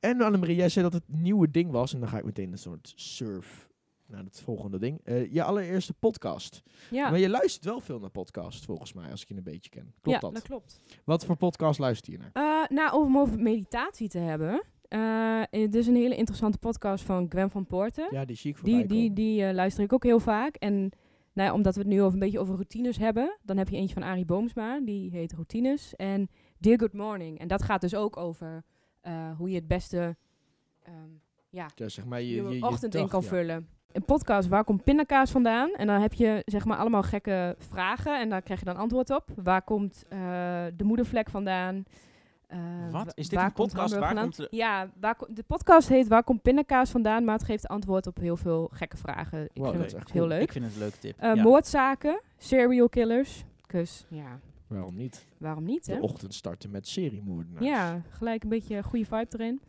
Speaker 4: en Annemarie, jij zei dat het nieuwe ding was. En dan ga ik meteen een soort surf naar het volgende ding. Eh, je allereerste podcast.
Speaker 2: Ja,
Speaker 4: Maar je luistert wel veel naar podcasts, volgens mij, als ik je een beetje ken. Klopt
Speaker 2: ja
Speaker 4: dat?
Speaker 2: dat klopt.
Speaker 4: Wat voor podcast luister je naar?
Speaker 2: Eh, nou, om over meditatie te hebben. eh, eh, dit is een hele interessante podcast van Gwen van Poorten.
Speaker 4: Ja, die zie ik voorbij
Speaker 2: Die, die, die eh, luister ik ook heel vaak. En nou ja, omdat we het nu over een beetje over routines hebben, dan heb je eentje van Arie Boomsma, die heet Routines. En Dear Good Morning. En dat gaat dus ook over eh, hoe je het beste ehm, ja,
Speaker 4: Ja, zeg maar, je,
Speaker 2: je,
Speaker 4: je, je
Speaker 2: ochtend in
Speaker 4: dag,
Speaker 2: kan
Speaker 4: ja.
Speaker 2: vullen. Een podcast, waar komt pindakaas vandaan? En dan heb je zeg maar allemaal gekke vragen en daar krijg je dan antwoord op. Waar komt eh, de moedervlek vandaan? Eh,
Speaker 1: Wat?
Speaker 2: wa-
Speaker 1: Is dit
Speaker 2: waar
Speaker 1: een
Speaker 2: komt
Speaker 1: podcast?
Speaker 2: hamburger
Speaker 1: Waar
Speaker 2: vandaan?
Speaker 1: komt
Speaker 2: Ja, waar ko- de podcast heet Waar komt pindakaas vandaan? Maar het geeft antwoord op heel veel gekke vragen. Ik
Speaker 4: Wow,
Speaker 2: vind
Speaker 4: dat
Speaker 2: het
Speaker 4: is echt
Speaker 2: heel
Speaker 4: cool.
Speaker 2: leuk.
Speaker 1: Ik vind het een leuke tip.
Speaker 2: Eh,
Speaker 1: ja.
Speaker 2: Moordzaken, serial killers. Dus ja,
Speaker 4: Waarom niet?
Speaker 2: waarom niet hè?
Speaker 4: De ochtend starten met seriemoordenaars.
Speaker 2: Ja, gelijk een beetje goede vibe erin.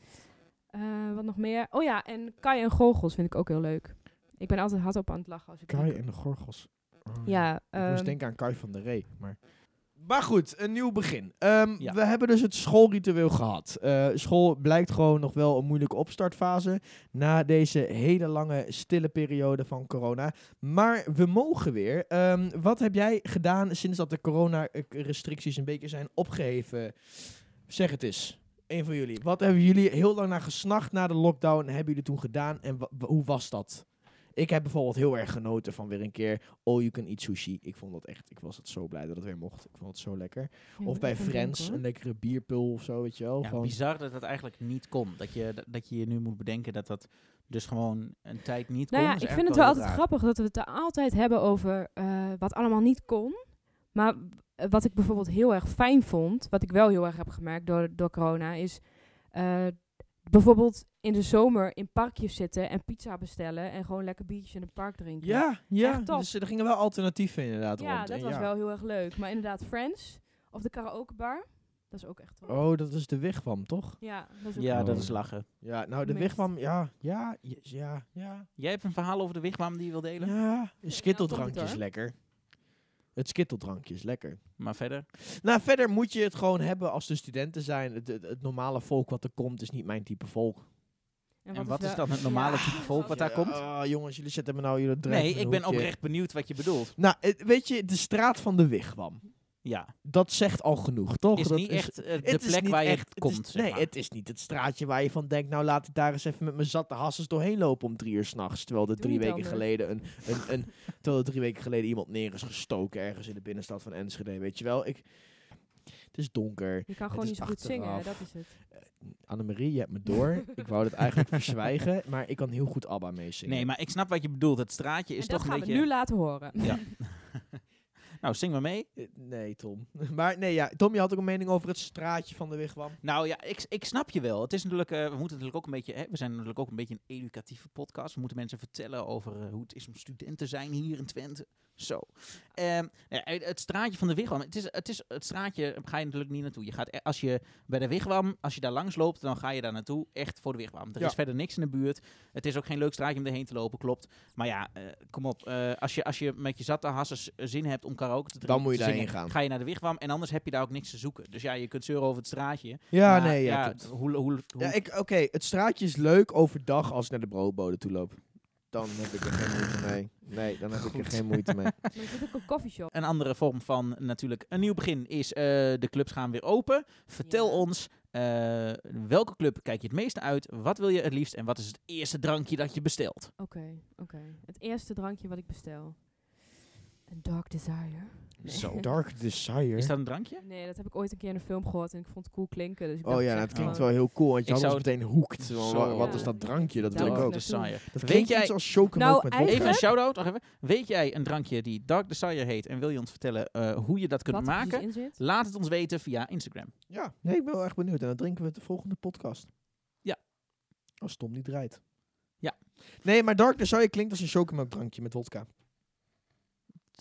Speaker 2: Eh, wat nog meer? Oh ja, en Kai en Gorgels vind ik ook heel leuk. Ik ben altijd hard op aan het lachen als ik
Speaker 4: Kai
Speaker 2: die-
Speaker 4: en de Gorgels. Oh,
Speaker 2: Ja,
Speaker 4: ik moest
Speaker 2: ehm,
Speaker 4: denken aan Kai van der Ree, maar... Maar goed, een nieuw begin. Ehm,
Speaker 1: Ja.
Speaker 4: We hebben dus het schoolritueel gehad. Eh, school blijkt gewoon nog wel een moeilijke opstartfase na deze hele lange stille periode van corona. Maar we mogen weer. Ehm, wat heb jij gedaan sinds dat de corona-restricties een beetje zijn opgeheven? Zeg het eens. Een van jullie. Wat hebben jullie heel lang naar gesnacht na de lockdown? Hebben jullie toen gedaan en wa- wa- hoe was dat? Ik heb bijvoorbeeld heel erg genoten van weer een keer all you can eat sushi. Ik vond dat echt, ik was het zo blij dat het weer mocht. Ik vond het zo lekker.
Speaker 2: Ja,
Speaker 4: Of
Speaker 2: ik
Speaker 4: bij
Speaker 2: vind het
Speaker 4: Friends,
Speaker 2: ook,
Speaker 4: een
Speaker 2: hoor.
Speaker 4: lekkere bierpul of zo, weet je wel.
Speaker 1: Ja,
Speaker 4: Gewoon-
Speaker 1: bizar dat dat eigenlijk niet kon. Dat je, dat- dat je je nu moet bedenken dat dat dus gewoon een tijd niet
Speaker 2: Nou
Speaker 1: kon.
Speaker 2: ja,
Speaker 1: is
Speaker 2: ik vind
Speaker 1: eigenlijk
Speaker 2: het wel
Speaker 1: heel
Speaker 2: altijd
Speaker 1: raar.
Speaker 2: grappig dat we het daar altijd hebben over eh, wat allemaal niet kon. Maar eh, wat ik bijvoorbeeld heel erg fijn vond, wat ik wel heel erg heb gemerkt door, door corona, is eh, bijvoorbeeld in de zomer in parkjes zitten en pizza bestellen en gewoon lekker biertje in het park drinken.
Speaker 4: Ja, ja.
Speaker 2: Echt top.
Speaker 4: Dus er gingen wel alternatieven inderdaad
Speaker 2: Ja,
Speaker 4: rond.
Speaker 2: dat
Speaker 4: En
Speaker 2: was
Speaker 4: ja.
Speaker 2: wel heel erg leuk. Maar inderdaad, Friends of de karaokebar, dat is ook echt wel.
Speaker 4: Oh, dat is de wigwam, toch?
Speaker 2: Ja, dat is ook
Speaker 1: Ja,
Speaker 2: wel
Speaker 1: dat
Speaker 2: leuk.
Speaker 1: is lachen.
Speaker 4: Ja, nou de
Speaker 2: Mixed.
Speaker 4: wigwam, ja, ja, ja, ja, ja.
Speaker 1: Jij hebt een verhaal over de wigwam die je wil delen?
Speaker 4: ja.
Speaker 2: komt
Speaker 4: Skitteldrankje
Speaker 2: het,
Speaker 4: is
Speaker 2: nou, hoor.
Speaker 4: lekker. Het skitteldrankje is lekker.
Speaker 1: Maar verder.
Speaker 4: Nou, verder moet je het gewoon hebben als de studenten zijn. Het, het, het normale volk wat er komt is niet mijn type volk.
Speaker 1: En wat is
Speaker 2: wel-
Speaker 1: dan het normale
Speaker 2: Ja.
Speaker 1: type volk wat daar
Speaker 4: Ja,
Speaker 1: komt?
Speaker 4: ah, jongens, jullie zetten me nou jullie drijven
Speaker 1: Nee,
Speaker 4: in een
Speaker 1: ik ben
Speaker 4: hoekje.
Speaker 1: oprecht benieuwd wat je bedoelt.
Speaker 4: Nou, het- weet je, de straat van de wigwam.
Speaker 1: Ja,
Speaker 4: Dat zegt al genoeg, toch?
Speaker 1: is
Speaker 4: dat
Speaker 1: niet echt eh, de
Speaker 4: Het is
Speaker 1: plek
Speaker 4: niet
Speaker 1: waar je
Speaker 4: echt-
Speaker 1: echt, komt.
Speaker 4: is,
Speaker 1: zeg
Speaker 4: nee,
Speaker 1: maar.
Speaker 4: het is niet het straatje waar je van denkt... nou, laat ik daar eens even met mijn zatte hassers doorheen lopen om drie uur s'nachts. Terwijl er
Speaker 2: Doe
Speaker 4: drie
Speaker 2: niet
Speaker 4: weken
Speaker 2: anders.
Speaker 4: geleden een, een, een, terwijl er drie weken geleden iemand neer is gestoken... ergens in de binnenstad van Enschede, weet je wel. Ik, het is donker.
Speaker 2: Je kan gewoon
Speaker 4: is
Speaker 2: niet zo goed zingen, hè,
Speaker 4: achteraf.
Speaker 2: dat is het.
Speaker 4: Annemarie, je hebt me door. ik wou dit eigenlijk verzwijgen, maar ik kan heel goed ABBA meezingen.
Speaker 1: nee, maar ik snap wat je bedoelt. Het straatje is
Speaker 2: en dat
Speaker 1: toch
Speaker 2: gaan
Speaker 1: een
Speaker 2: we
Speaker 1: beetje.
Speaker 2: nu laten horen.
Speaker 1: Ja. nou, zing maar mee.
Speaker 4: Eh, Nee, Tom. Maar nee, ja, Tom, je had ook een mening over het straatje van de wigwam.
Speaker 1: Nou ja, ik, ik snap je wel. Het is natuurlijk, eh, we moeten natuurlijk ook een beetje, hè, we zijn natuurlijk ook een beetje een educatieve podcast. We moeten mensen vertellen over eh, hoe het is om student te zijn hier in Twente. Zo. Ehm, nou ja, het straatje van de Wigwam. Het, is, het, is, het straatje ga je natuurlijk niet naartoe. Je gaat, e- als je bij de Wigwam, als je daar langs loopt, dan ga je daar naartoe. Echt voor de Wigwam. Er
Speaker 4: Ja.
Speaker 1: is verder niks in de buurt. Het is ook geen leuk straatje om erheen te lopen, klopt. Maar ja, eh, kom op. Eh, als, je, als je met je zatte hassers eh, zin hebt om karaoke te drinken,
Speaker 4: moet je
Speaker 1: te
Speaker 4: daarheen
Speaker 1: zingen,
Speaker 4: gaan.
Speaker 1: Ga je naar de Wigwam en anders heb je daar ook niks te zoeken. Dus ja, je kunt zeuren over het straatje.
Speaker 4: Ja,
Speaker 1: Maar
Speaker 4: nee, ja, klopt.
Speaker 1: d- hoe, hoe, hoe-
Speaker 4: Ja, ik, oké, het straatje is leuk overdag als ik naar de broodbode toe loop. Dan heb ik er geen moeite mee. Nee, dan heb ik er
Speaker 1: Goed.
Speaker 4: geen moeite mee.
Speaker 2: Maar er zit ook een coffeeshop.
Speaker 1: Een andere vorm van natuurlijk een nieuw begin is eh, de clubs gaan weer open. Vertel
Speaker 2: Ja.
Speaker 1: ons eh, welke club kijk je het meeste uit? Wat wil je het liefst en wat is het eerste drankje dat je bestelt?
Speaker 2: Oké, oké. Het eerste drankje wat ik bestel. Een Dark Desire. Nee.
Speaker 1: Zo.
Speaker 4: Dark Desire.
Speaker 1: Is dat een drankje?
Speaker 2: Nee, dat heb ik ooit een keer in een film gehoord en ik vond het cool klinken. Dus ik
Speaker 4: oh
Speaker 2: dacht,
Speaker 4: ja,
Speaker 2: ik zeg
Speaker 4: nou, het klinkt
Speaker 2: gewoon-
Speaker 4: wel heel cool, want je
Speaker 1: Ik
Speaker 4: had
Speaker 1: zou
Speaker 4: ons meteen hoekt. Zo,
Speaker 1: Zo.
Speaker 4: wa- Wat
Speaker 2: Ja.
Speaker 4: is dat drankje? Dat
Speaker 2: Daar
Speaker 4: wil ik
Speaker 2: was
Speaker 4: ook.
Speaker 2: het
Speaker 1: Desire.
Speaker 4: Dat
Speaker 1: Weet
Speaker 4: klinkt
Speaker 1: jij-
Speaker 4: iets als chocomilk
Speaker 2: Nou,
Speaker 4: met
Speaker 2: eigenlijk-
Speaker 1: Even een
Speaker 4: wodka.
Speaker 1: shout-out. nog even. Weet jij een drankje die Dark Desire heet en wil je ons vertellen eh, hoe je dat kunt
Speaker 2: wat er precies
Speaker 1: maken?
Speaker 2: in zit.
Speaker 1: Laat het ons weten via Instagram.
Speaker 4: Ja, nee, ik ben wel echt benieuwd. En dan drinken we het de volgende podcast.
Speaker 1: Ja.
Speaker 4: Als Tom niet draait.
Speaker 1: Ja.
Speaker 4: Nee, maar Dark Desire klinkt als een chocomilk drankje met wodka.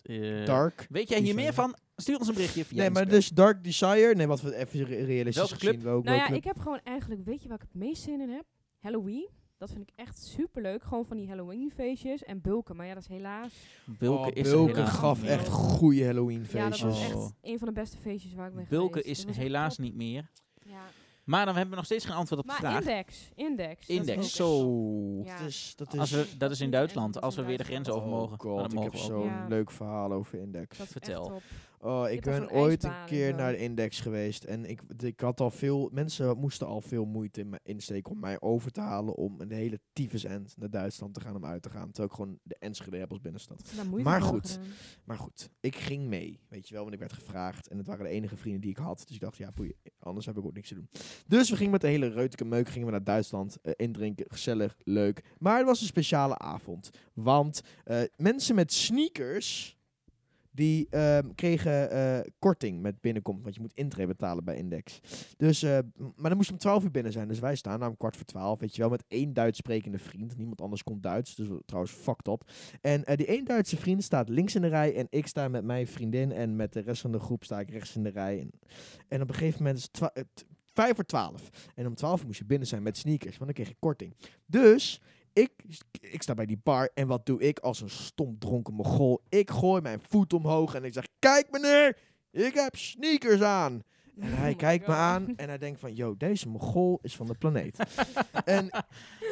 Speaker 1: Eh,
Speaker 4: Dark.
Speaker 1: Weet jij hier
Speaker 4: Desire.
Speaker 1: meer van? Stuur ons een berichtje via
Speaker 4: nee, maar
Speaker 1: Instagram.
Speaker 4: dus Dark Desire. Nee, wat we even re- realistisch
Speaker 1: Welke
Speaker 4: gezien...
Speaker 1: club?
Speaker 4: wel-
Speaker 2: Nou
Speaker 4: welke
Speaker 2: ja,
Speaker 4: club?
Speaker 2: ik heb gewoon eigenlijk, weet je waar ik het meest zin in heb? Halloween. Dat vind ik echt superleuk. Gewoon van die Halloween feestjes en bulken. Maar ja, dat is helaas.
Speaker 1: Bulken
Speaker 4: Oh,
Speaker 1: is er
Speaker 4: Bulken
Speaker 1: helaas
Speaker 4: gaf
Speaker 1: niet
Speaker 4: echt
Speaker 1: meer.
Speaker 4: goede Halloween
Speaker 2: Ja, dat was
Speaker 4: feestjes.
Speaker 2: echt
Speaker 1: Oh.
Speaker 2: een van de beste feestjes waar ik ben
Speaker 1: Bulken
Speaker 2: geweest.
Speaker 1: is
Speaker 2: Dat was echt
Speaker 1: helaas
Speaker 2: top.
Speaker 1: niet meer.
Speaker 2: Ja.
Speaker 1: Maar dan hebben we nog steeds geen antwoord op de
Speaker 2: Maar
Speaker 1: vraag.
Speaker 2: index, index. dat is ook
Speaker 1: Index.
Speaker 2: echt-
Speaker 4: Zo.
Speaker 2: Ja.
Speaker 4: Dat is, dat is,
Speaker 1: Als we, dat is in
Speaker 2: niet echt,
Speaker 1: Duitsland,
Speaker 2: dat is
Speaker 1: als we
Speaker 2: in
Speaker 1: weer de grens
Speaker 2: Duitsland.
Speaker 1: over mogen.
Speaker 4: Oh
Speaker 1: Maar
Speaker 4: god,
Speaker 1: dat
Speaker 4: ik
Speaker 1: mogen
Speaker 4: heb
Speaker 1: we ook.
Speaker 4: zo'n
Speaker 2: Ja.
Speaker 4: leuk verhaal over Index.
Speaker 2: Dat is echt
Speaker 1: Vertel.
Speaker 2: top.
Speaker 4: Oh, ik
Speaker 2: hebt daar
Speaker 4: ben
Speaker 2: zo'n
Speaker 4: ooit een
Speaker 2: ijsbaan en
Speaker 4: keer
Speaker 2: zo.
Speaker 4: naar de Index geweest. En ik, ik had al veel... Mensen moesten al veel moeite in me insteken om mij over te halen... om een hele tyfus end naar Duitsland te gaan om uit te gaan. Terwijl ik gewoon de Enschede-appels binnenstad.
Speaker 2: Ik heb daar moeite
Speaker 4: Maar
Speaker 2: voor
Speaker 4: goed.
Speaker 2: gedaan.
Speaker 4: Maar goed, ik ging mee. Weet je wel, want ik werd gevraagd. En het waren de enige vrienden die ik had. Dus ik dacht, ja, boeien, anders heb ik ook niks te doen. Dus we gingen met de hele reuteke meuk gingen we naar Duitsland. eh, indrinken, gezellig, leuk. Maar het was een speciale avond. Want eh, mensen met sneakers... Die ehm, kregen eh, korting met binnenkomst. Want je moet intree betalen bij Index. Dus, eh, m- maar dan moest om 12 uur binnen zijn. Dus wij staan daar om kwart voor 12. Weet je wel, met één Duits sprekende vriend. Niemand anders kon Duits. Dus trouwens, fucked up. En eh, die één Duitse vriend staat links in de rij. En ik sta met mijn vriendin. En met de rest van de groep sta ik rechts in de rij. En, en op een gegeven moment is het twa- eh, t- vijf voor twaalf. En om twaalf moest je binnen zijn met sneakers. Want dan kreeg je korting. Dus ik, ik sta bij die bar. En wat doe ik als een stom dronken mogol? Ik gooi mijn voet omhoog. En ik zeg, kijk meneer, ik heb sneakers aan. En
Speaker 2: Oh
Speaker 4: hij
Speaker 2: my
Speaker 4: kijkt me
Speaker 2: God.
Speaker 4: aan en hij denkt van... Yo, deze mogol is van de planeet. en,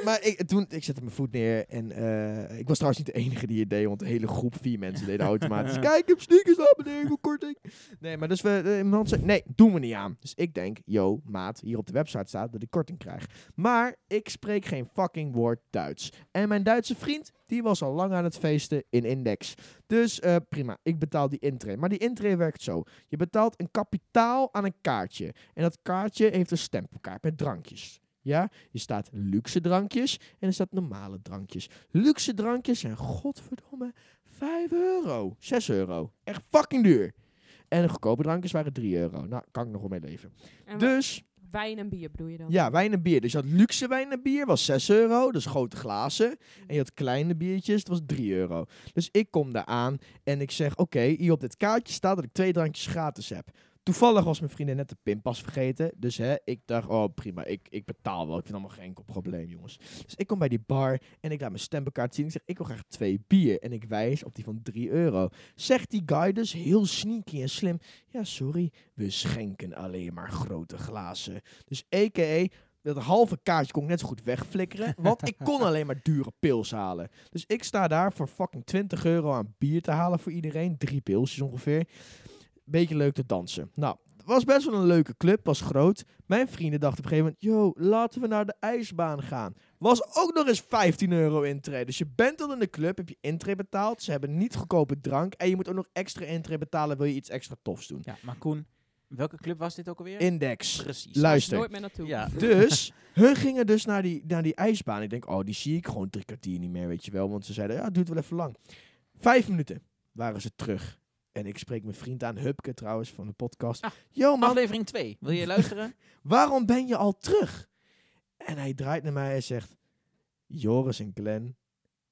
Speaker 4: maar ik, toen, ik zette mijn voet neer. En eh, ik was trouwens niet de enige die het deed. Want de hele groep, vier mensen, deden automatisch... Kijk, ik heb sneakers aan, meneer. Ik wil korting. Nee, maar dus we... eh, iemand zei, nee, doen we niet aan. Dus ik denk... Yo, maat, hier op de website staat dat ik korting krijg. Maar ik spreek geen fucking woord Duits. En mijn Duitse vriend, die was al lang aan het feesten in Index. Dus eh, prima, ik betaal die intree. Maar die intree werkt zo. Je betaalt een kapitaal aan een kaartje. En dat kaartje heeft een stempelkaart met drankjes. Ja, je staat luxe drankjes en er staat normale drankjes. Luxe drankjes zijn godverdomme 5 euro, 6 euro. Echt fucking duur. En de goedkope drankjes waren 3 euro. Nou, kan ik nog wel mee leven.
Speaker 2: En
Speaker 4: Dus
Speaker 2: wijn en bier bedoel je dan?
Speaker 4: ja, wijn en bier. Dus je had luxe wijn en bier, was 6 euro, dus grote glazen. En je had kleine biertjes, dat was 3 euro. Dus ik kom daar aan en ik zeg, oké, hier op dit kaartje staat dat ik twee drankjes gratis heb. Toevallig was mijn vriendin net de pinpas vergeten. Dus hè, ik dacht, oh prima, ik, ik betaal wel. Ik vind allemaal geen enkel probleem, jongens. Dus ik kom bij die bar en ik laat mijn stempelkaart zien. Ik zeg, ik wil graag twee bier. En ik wijs op die van 3 euro. Zegt die guy dus heel sneaky en slim. Ja, sorry, we schenken alleen maar grote glazen. Dus a.k.a. dat halve kaartje kon ik net zo goed wegflikkeren. Want ik kon alleen maar dure pils halen. Dus ik sta daar voor fucking 20 euro aan bier te halen voor iedereen. Drie pilsjes ongeveer. Beetje leuk te dansen. Nou, het was best wel een leuke club. Was groot. Mijn vrienden dachten op een gegeven moment... Yo, laten we naar de ijsbaan gaan. Was ook nog eens 15 euro intree. Dus je bent al in de club, heb je intree betaald. Ze hebben niet goedkope drank. En je moet ook nog extra intree betalen... wil je iets extra tofs doen.
Speaker 1: Ja, maar Koen, welke club was dit ook alweer?
Speaker 4: Index.
Speaker 1: Precies.
Speaker 4: Luister.
Speaker 2: Nooit meer naartoe.
Speaker 1: Ja.
Speaker 4: Dus, hun gingen dus naar die, naar die ijsbaan. Ik denk, oh, die zie ik gewoon drie kwartier niet meer, weet je wel. Want ze zeiden, ja, het duurt wel even lang. Vijf minuten waren ze terug. En ik spreek mijn vriend aan, Hupke trouwens, van de podcast.
Speaker 1: Ah,
Speaker 4: Yo man,
Speaker 1: Aflevering 2. Wil je luisteren?
Speaker 4: waarom ben je al terug? En hij draait naar mij en zegt, Joris en Glenn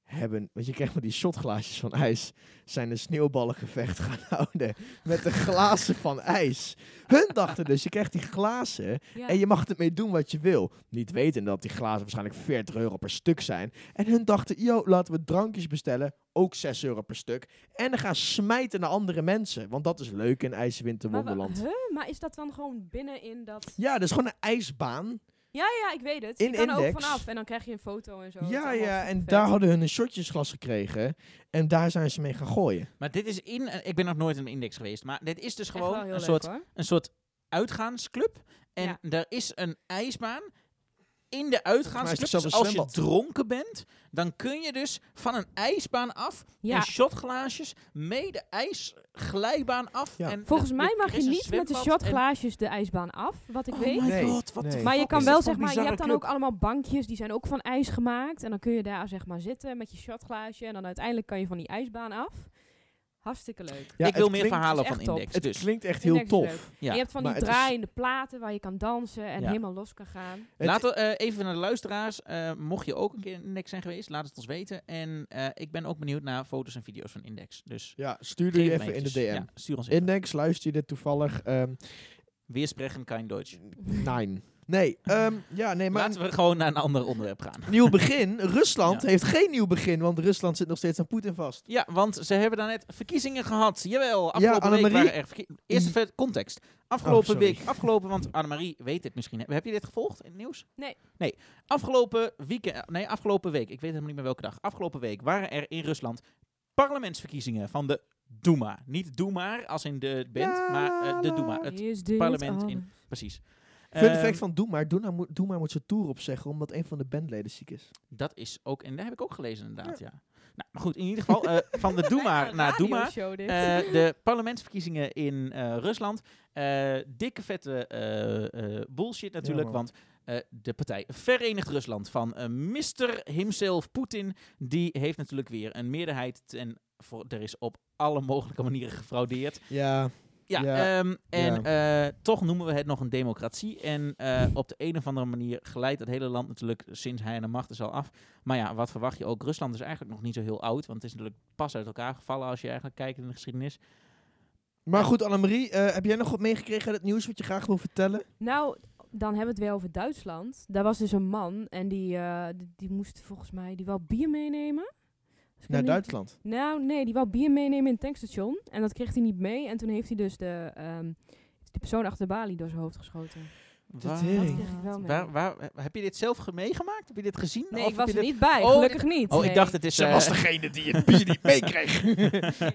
Speaker 4: hebben, want je krijgt maar die shotglaasjes van ijs, zijn een sneeuwballengevecht gaan houden met de glazen van ijs. Hun dachten dus, je krijgt die glazen
Speaker 2: Ja.
Speaker 4: en je mag ermee doen wat je wil. Niet weten dat die glazen waarschijnlijk 40 euro per stuk zijn. En hun dachten, yo, laten we drankjes bestellen. Ook 6 euro per stuk. En dan gaan smijten naar andere mensen. Want dat is leuk in IJswinter
Speaker 2: Maar wa-
Speaker 4: Wonderland.
Speaker 2: huh? Maar is dat dan gewoon binnenin dat...
Speaker 4: Ja, dat is gewoon een ijsbaan.
Speaker 2: Ja, ja, ik weet het.
Speaker 4: In
Speaker 2: je kan er ook
Speaker 4: Index.
Speaker 2: vanaf en dan krijg je een foto en zo. Het is
Speaker 4: ja,
Speaker 2: allemaal
Speaker 4: ja. En
Speaker 2: vet.
Speaker 4: daar hadden hun een shotjesglas gekregen. En daar zijn ze mee gaan gooien.
Speaker 1: maar dit is in... eh, Ik ben nog nooit in een index geweest. Maar dit is dus
Speaker 2: Echt wel
Speaker 1: gewoon
Speaker 2: heel
Speaker 1: een
Speaker 2: leuk,
Speaker 1: soort,
Speaker 2: hoor.
Speaker 1: een soort uitgaansclub. En
Speaker 2: Ja.
Speaker 1: er is een ijsbaan in de
Speaker 4: mij is het
Speaker 1: uitgaansclub.
Speaker 4: zelfs
Speaker 1: Dus
Speaker 4: een
Speaker 1: als je
Speaker 4: zwembad.
Speaker 1: dronken bent, dan kun je dus van een ijsbaan af...
Speaker 2: Ja.
Speaker 1: in shotglaasjes mee de ijsglijbaan af.
Speaker 4: Ja.
Speaker 1: En
Speaker 2: Volgens
Speaker 1: de-
Speaker 2: mij
Speaker 1: de-
Speaker 2: mag
Speaker 1: er
Speaker 2: je
Speaker 1: is een
Speaker 2: niet met de
Speaker 1: zwembad en-
Speaker 2: shotglaasjes de ijsbaan af, wat ik weet.
Speaker 1: Oh my
Speaker 4: Nee,
Speaker 1: god, wat de
Speaker 4: nee.
Speaker 2: Maar je
Speaker 1: fuck
Speaker 2: kan
Speaker 1: is
Speaker 2: wel,
Speaker 1: dit
Speaker 2: zeg
Speaker 1: voor
Speaker 2: maar, je
Speaker 1: bizarre
Speaker 2: hebt dan
Speaker 1: club?
Speaker 2: ook allemaal bankjes, die zijn ook van ijs gemaakt. En dan kun je daar, zeg maar, zitten met je shotglaasje. En dan uiteindelijk kan je van die ijsbaan af. Hartstikke leuk.
Speaker 4: Ja,
Speaker 1: ik wil
Speaker 4: het
Speaker 1: meer
Speaker 4: klinkt-
Speaker 1: verhalen
Speaker 2: het
Speaker 1: van
Speaker 2: is echt
Speaker 1: Index.
Speaker 4: Het
Speaker 1: Dus.
Speaker 4: klinkt echt
Speaker 2: Index
Speaker 4: heel
Speaker 2: is
Speaker 4: tof.
Speaker 2: leuk.
Speaker 1: Ja.
Speaker 2: Je hebt van
Speaker 4: Maar
Speaker 2: die
Speaker 4: het is-
Speaker 2: draaiende platen waar je kan dansen en
Speaker 1: Ja.
Speaker 2: helemaal los kan gaan.
Speaker 4: Het-
Speaker 1: Laten we eh, even naar de luisteraars. Eh, mocht je ook een keer in Index zijn geweest, laat het ons weten. En eh, ik ben ook benieuwd naar foto's en video's van Index. Dus
Speaker 4: Ja, stuur
Speaker 1: geef
Speaker 4: die
Speaker 1: hem
Speaker 4: even in de DM.
Speaker 1: eventjes. Ja, stuur ons even.
Speaker 4: Index, luister je dit toevallig? Ehm
Speaker 1: Weersprechen kein Deutsch.
Speaker 4: nein. Nee, ehm, ja, nee, maar
Speaker 1: Laten we gewoon naar een ander onderwerp gaan.
Speaker 4: nieuw begin. Rusland
Speaker 1: Ja.
Speaker 4: heeft geen nieuw begin, want Rusland zit nog steeds aan Poetin vast.
Speaker 1: Ja, want ze hebben daarnet verkiezingen gehad. Jawel, afgelopen week
Speaker 4: Annemarie? Mm.
Speaker 1: waren er verkie- Eerst even context.
Speaker 4: Oh,
Speaker 1: Afgelopen
Speaker 4: sorry.
Speaker 1: week, afgelopen, want Annemarie weet dit misschien. Heb je dit gevolgd in het nieuws?
Speaker 2: Nee.
Speaker 1: Nee, afgelopen weekend, nee, afgelopen week, ik weet helemaal niet meer welke dag. Afgelopen week waren er in Rusland parlementsverkiezingen van de Duma. Niet Duma als in de band,
Speaker 4: Ja,
Speaker 1: maar eh, de
Speaker 4: la,
Speaker 1: Duma. Het,
Speaker 2: Is dit
Speaker 1: parlement
Speaker 2: alles?
Speaker 1: in- precies.
Speaker 4: Fun
Speaker 1: Ehm,
Speaker 4: fact van Doema. Doema moet, Doema moet zijn tour opzeggen omdat een van de bandleden ziek is.
Speaker 1: Dat is ook, en daar heb ik ook gelezen inderdaad, ja. Nou, maar goed, in ieder geval, eh, van de Duma
Speaker 2: Een
Speaker 1: naar Duma.
Speaker 2: radioshow dit.
Speaker 1: nou, Eh, de parlementsverkiezingen in eh, Rusland. Eh, dikke vette eh, eh, bullshit natuurlijk,
Speaker 4: man.
Speaker 1: want eh, de partij Verenigd Rusland van eh, Mr. himself Poetin, die heeft natuurlijk weer een meerderheid en voor, er is op alle mogelijke manieren gefraudeerd.
Speaker 4: Ja,
Speaker 1: Ja,
Speaker 4: Ja,
Speaker 1: ehm, en eh, toch noemen we het nog een democratie. En eh, op de een of andere manier glijdt het hele land natuurlijk sinds hij aan de macht is al af. Maar ja, wat verwacht je ook? Rusland is eigenlijk nog niet zo heel oud, want het is natuurlijk pas uit elkaar gevallen als je eigenlijk kijkt in de geschiedenis.
Speaker 4: Maar goed, Annemarie, eh heb jij nog wat meegekregen uit het nieuws wat je graag wil vertellen?
Speaker 2: Nou, dan hebben we het weer over Duitsland. Daar was dus een man en die, eh, d- die moest volgens mij, die wou bier meenemen. Als ik me
Speaker 4: Naar
Speaker 2: niet-
Speaker 4: Duitsland.
Speaker 2: Nou, nee, die wou bier meenemen in het tankstation. En dat kreeg hij niet mee. En toen heeft hij dus de, ehm, de persoon achter de balie door zijn hoofd geschoten.
Speaker 1: Waar-
Speaker 2: Dat
Speaker 4: tering.
Speaker 2: kreeg hij wel mee.
Speaker 1: waar, waar, heb je dit zelf ge- meegemaakt? Heb je dit gezien?
Speaker 2: Nee,
Speaker 1: Of
Speaker 2: ik was
Speaker 1: heb
Speaker 2: er
Speaker 1: je dit-
Speaker 2: niet bij.
Speaker 1: Oh,
Speaker 2: gelukkig niet.
Speaker 1: Oh,
Speaker 2: nee.
Speaker 1: ik dacht het is... eh,
Speaker 4: degene die het bier niet meekreeg.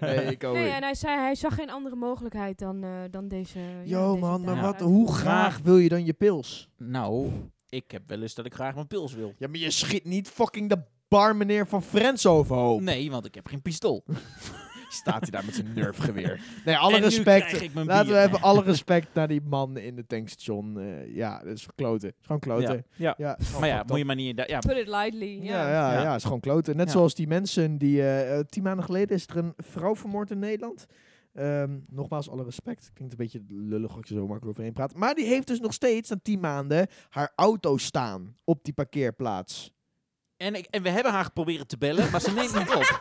Speaker 4: nee,
Speaker 1: oh,
Speaker 4: ik ook
Speaker 2: Nee, nou,
Speaker 4: niet.
Speaker 2: en hij zei, hij zag geen andere mogelijkheid dan, eh, dan deze... ja,
Speaker 4: Yo
Speaker 2: deze
Speaker 4: man, maar
Speaker 2: daad.
Speaker 4: wat, hoe graag wil je dan je pils?
Speaker 1: nou, ik heb wel eens dat ik graag mijn pils wil.
Speaker 4: Ja, maar je schiet niet fucking de barmeneer van Friends overhoop.
Speaker 1: Nee, want ik heb geen pistool.
Speaker 4: Staat hij daar met zijn nerfgeweer. Nee, alle
Speaker 1: En nu krijg
Speaker 4: respect.
Speaker 1: ik mijn
Speaker 4: Laten we
Speaker 1: bier.
Speaker 4: even alle respect naar die man in de tankstation. eh, ja, dat is kloten. Is gewoon kloten.
Speaker 1: Ja.
Speaker 4: Ja, is gewoon
Speaker 1: Maar ja,
Speaker 4: fucked
Speaker 1: moet je
Speaker 4: up.
Speaker 1: maar niet... Ja,
Speaker 2: Put it lightly.
Speaker 4: Ja, ja,
Speaker 1: Ja.
Speaker 4: ja, is gewoon kloten. Net
Speaker 1: Ja.
Speaker 4: zoals die mensen die... eh, eh, tien maanden geleden is er een vrouw vermoord in Nederland. Ehm, nogmaals, alle respect. Klinkt een beetje lullig als je zo makkelijk overheen praat. Maar die heeft dus nog steeds, na tien maanden, haar auto staan op die parkeerplaats.
Speaker 1: en, ik, en we hebben haar proberen te bellen, maar ze neemt niet op.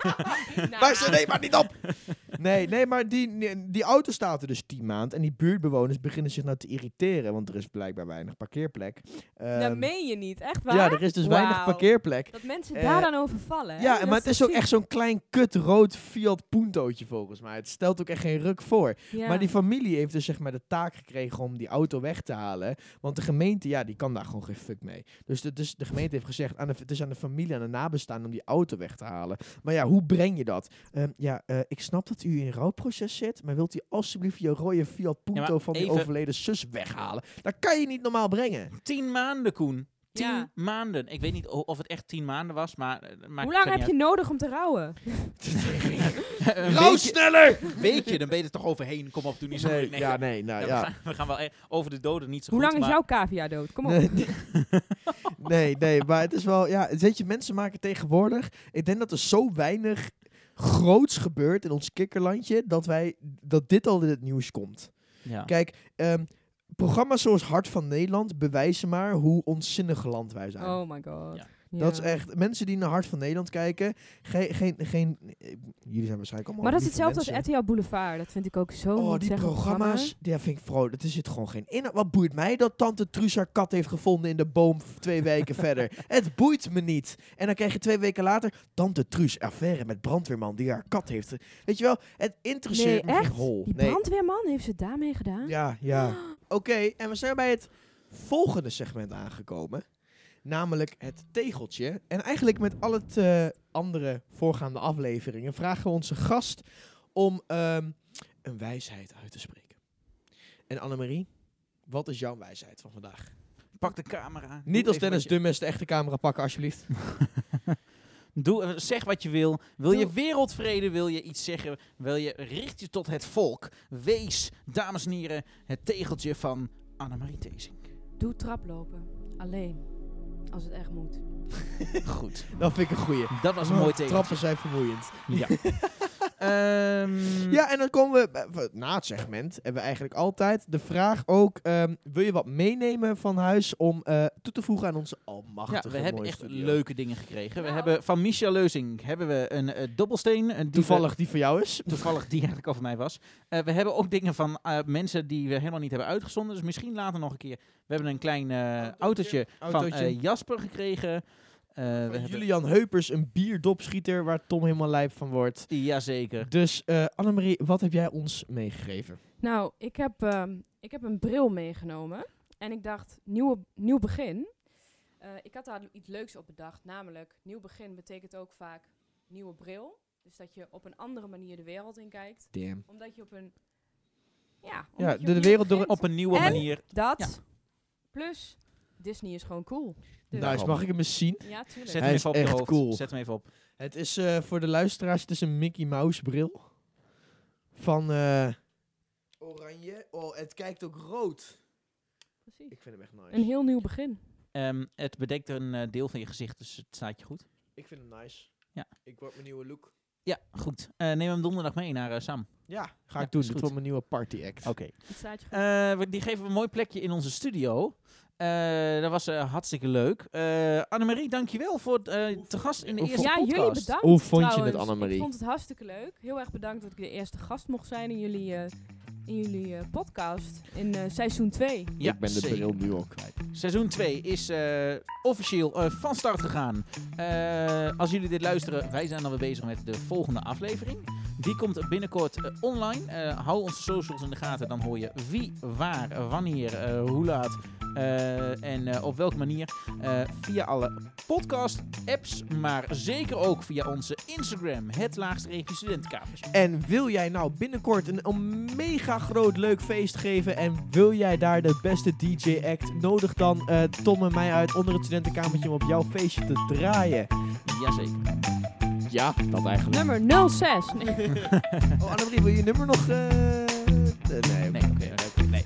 Speaker 2: Nou,
Speaker 4: Maar ze neemt maar niet op. Nee, nee, maar die, die auto staat er dus 10 maand. En die buurtbewoners beginnen zich nou te irriteren. Want er is blijkbaar weinig parkeerplek.
Speaker 2: Dat
Speaker 4: Ehm,
Speaker 2: Nou, meen je niet, echt waar?
Speaker 4: ja, er is dus weinig
Speaker 2: Wauw.
Speaker 4: parkeerplek.
Speaker 2: Dat mensen
Speaker 4: Eh,
Speaker 2: daar dan over vallen. hè?
Speaker 4: Ja,
Speaker 2: Dat
Speaker 4: maar het is ook
Speaker 2: ziek.
Speaker 4: echt zo'n klein kut rood Fiat Puntootje volgens mij. Het stelt ook echt geen ruk voor.
Speaker 2: Ja.
Speaker 4: Maar die familie heeft dus zeg maar de taak gekregen om die auto weg te halen. Want de gemeente, ja, die kan daar gewoon geen fuck mee. Dus de, dus de gemeente heeft gezegd, aan de, het is aan de familie, aan de nabestaanden om die auto weg te halen. Maar ja, hoe breng je dat? Ehm, ja, eh, ik snap dat u in een rouwproces zit, maar wilt u alsjeblieft je rode Fiat Punto
Speaker 1: maar
Speaker 4: van die
Speaker 1: even-
Speaker 4: overleden zus weghalen? Dat kan je niet normaal brengen.
Speaker 1: Tien maanden, Koen. Tien
Speaker 2: Ja.
Speaker 1: maanden. Ik weet niet o- of het echt tien maanden was, maar... eh, maakt
Speaker 2: Hoe lang
Speaker 1: verder
Speaker 2: heb je nodig om te rouwen?
Speaker 1: niet uit. Een
Speaker 4: Rouw
Speaker 1: weekje-
Speaker 4: sneller!
Speaker 1: Weet je, dan ben je er toch overheen. Kom op, doe niet zo
Speaker 4: Nee,
Speaker 1: moeilijk. Nee,
Speaker 4: ja, nee, nou
Speaker 1: we,
Speaker 4: ja.
Speaker 1: gaan, we gaan wel eh, over de doden niet zo
Speaker 2: Hoe
Speaker 1: goed,
Speaker 2: lang is
Speaker 1: maar-
Speaker 2: jouw cavia dood? Kom op.
Speaker 4: Nee, nee, nee, maar het is wel, ja, weet je, mensen maken tegenwoordig, ik denk dat er zo weinig groots gebeurt in ons kikkerlandje, dat wij, dat dit al in het nieuws komt.
Speaker 1: Ja.
Speaker 2: Ah.
Speaker 4: Kijk, ehm, programma's zoals Hart van Nederland bewijzen maar hoe onzinnig land wij zijn.
Speaker 2: Oh my god.
Speaker 1: Ja.
Speaker 4: Dat is
Speaker 2: Ja.
Speaker 4: echt, mensen die naar Hart van Nederland kijken, geen, geen, geen, eh, jullie zijn waarschijnlijk allemaal
Speaker 2: Maar dat is
Speaker 4: lieve
Speaker 2: hetzelfde als
Speaker 4: mensen.
Speaker 2: RTL Boulevard. Dat vind ik ook zo
Speaker 4: Oh, die
Speaker 2: ontzeglijk
Speaker 4: programma's, daar vind ik vrolijk. Dat is het gewoon geen inhoud. Wat boeit mij dat tante Truus haar kat heeft gevonden in de boom f- twee weken verder? Het boeit me niet. En dan krijg je twee weken later tante Truus affaire met brandweerman die haar kat heeft. ge- Weet je wel, het
Speaker 2: programma. Nee,
Speaker 4: interesseert me geen
Speaker 2: echt?
Speaker 4: hol.
Speaker 2: Die
Speaker 4: nee.
Speaker 2: brandweerman heeft ze het daarmee gedaan?
Speaker 4: Ja, ja. Oké, en we zijn bij het volgende segment aangekomen. Namelijk het tegeltje. En eigenlijk met al het eh, andere voorgaande afleveringen vragen we onze gast om ehm, een wijsheid uit te spreken. En Annemarie, wat is jouw wijsheid van vandaag?
Speaker 1: Pak de camera.
Speaker 4: Niet
Speaker 1: Doe
Speaker 4: als
Speaker 1: even
Speaker 4: Dennis
Speaker 1: wat je-
Speaker 4: Dummes de echte camera pakken, alsjeblieft.
Speaker 1: Doe, eh, zeg wat je wil. Wil je
Speaker 2: Doe-
Speaker 1: wereldvrede? Wil je iets zeggen? Wil je richt je tot het volk? Wees, dames en heren, het tegeltje van Annemarie Tezing.
Speaker 2: Doe traplopen. Alleen. Als het echt moet.
Speaker 1: Goed,
Speaker 4: Dat vind ik een goeie.
Speaker 1: dat was een mooi
Speaker 4: Trappen
Speaker 1: tegeltje.
Speaker 4: zijn vermoeiend.
Speaker 1: Ja. Ehm,
Speaker 4: Ja, en dan komen we bij- we- na het segment. Hebben we eigenlijk altijd de vraag ook: ehm, wil je wat meenemen van huis om eh, toe te voegen aan onze
Speaker 1: Ja,
Speaker 4: almachtige
Speaker 1: we hebben
Speaker 4: mooie
Speaker 1: echt
Speaker 4: studio?
Speaker 1: leuke dingen gekregen. We hebben van Michel Leuzing hebben we een eh, dobbelsteen. Een die we-
Speaker 4: Toevallig die voor jou is.
Speaker 1: toevallig die eigenlijk al van mij was. Eh, we hebben ook dingen van eh, mensen die we helemaal niet hebben uitgezonden. Dus misschien later nog een keer. We hebben een klein eh, autootje,
Speaker 4: Autootje.
Speaker 1: van
Speaker 4: Autootje.
Speaker 1: eh, Jasper gekregen. Eh, we
Speaker 4: Van
Speaker 1: hebben-
Speaker 4: Julian Heupers, een bierdopschieter waar Tom helemaal lijp van wordt.
Speaker 1: Jazeker.
Speaker 4: Dus eh, Annemarie, wat heb jij ons meegegeven?
Speaker 2: Nou, ik heb, ehm, ik heb een bril meegenomen. En ik dacht, nieuwe, nieuw begin. Eh, ik had daar iets leuks op bedacht. Namelijk, nieuw begin betekent ook vaak nieuwe bril. Dus dat je op een andere manier de wereld in kijkt.
Speaker 4: Damn.
Speaker 2: Omdat je op een... Ja, omdat
Speaker 4: Ja,
Speaker 2: je
Speaker 4: de- de
Speaker 2: opnieuw
Speaker 4: wereld door-
Speaker 2: begint.
Speaker 1: Op een nieuwe
Speaker 2: En?
Speaker 1: manier.
Speaker 2: Dat.
Speaker 1: Ja.
Speaker 2: Plus, Disney is gewoon cool. Dus-
Speaker 4: Nice, Nou, mag ik hem eens zien?
Speaker 2: Ja, tuurlijk.
Speaker 1: Zet
Speaker 4: Hij
Speaker 1: hem
Speaker 4: is
Speaker 1: even op je
Speaker 4: echt
Speaker 1: hoofd.
Speaker 4: cool.
Speaker 1: Zet hem even op.
Speaker 4: Het is eh, voor de luisteraars, het is een Mickey Mouse bril. Van eh, oranje. Oh, het kijkt ook rood.
Speaker 2: Precies.
Speaker 4: Ik vind hem echt nice.
Speaker 2: Een heel nieuw begin.
Speaker 1: Ehm, het bedekt een eh, deel van je gezicht, dus het staat je goed.
Speaker 4: Ik vind hem nice.
Speaker 1: Ja.
Speaker 4: Ik word mijn nieuwe look.
Speaker 1: Ja, goed. Eh, neem hem donderdag mee naar eh, Sam.
Speaker 4: Ja, ga
Speaker 1: Ja,
Speaker 4: ik doen.
Speaker 1: is
Speaker 4: Dit
Speaker 1: goed.
Speaker 4: wordt mijn nieuwe party act.
Speaker 1: Oké.
Speaker 2: Het staat je
Speaker 1: Eh, we- die geven we een mooi plekje in onze studio. Eh, dat was eh, hartstikke leuk. Eh Annemarie, dankjewel voor het eh, te gast in de
Speaker 4: hoe
Speaker 1: eerste
Speaker 2: ja,
Speaker 1: podcast.
Speaker 2: jullie bedankt.
Speaker 4: Hoe vond je het,
Speaker 2: trouwens.
Speaker 4: Annemarie?
Speaker 2: Ik vond het hartstikke leuk. Heel erg bedankt dat ik de eerste gast mocht zijn in jullie, eh, in jullie eh, podcast in eh, seizoen 2.
Speaker 1: Ja,
Speaker 5: ik ben de
Speaker 1: zeker.
Speaker 5: bril nu al kwijt.
Speaker 1: Seizoen 2 is eh, officieel eh, van start gegaan. Eh, als jullie dit luisteren, wij zijn alweer bezig met de volgende aflevering. Die komt binnenkort eh, online. Eh, hou onze socials in de gaten, dan hoor je wie, waar, wanneer, eh, hoe laat eh, en eh, op welke manier. Eh, via alle podcast-apps, maar zeker ook via onze Instagram, het laagstreepje studentenkamers.
Speaker 4: En wil jij nou binnenkort een, een mega groot leuk feest geven en wil jij daar de beste DJ act, nodig dan eh, Tom en mij uit onder het studentenkamertje om op jouw feestje te draaien.
Speaker 1: Jazeker.
Speaker 5: Ja, dat eigenlijk.
Speaker 2: Nummer 06. Nee.
Speaker 4: Oh Annemarie, wil je je nummer nog? eh, nee.
Speaker 1: Nee, oké. nee, nee,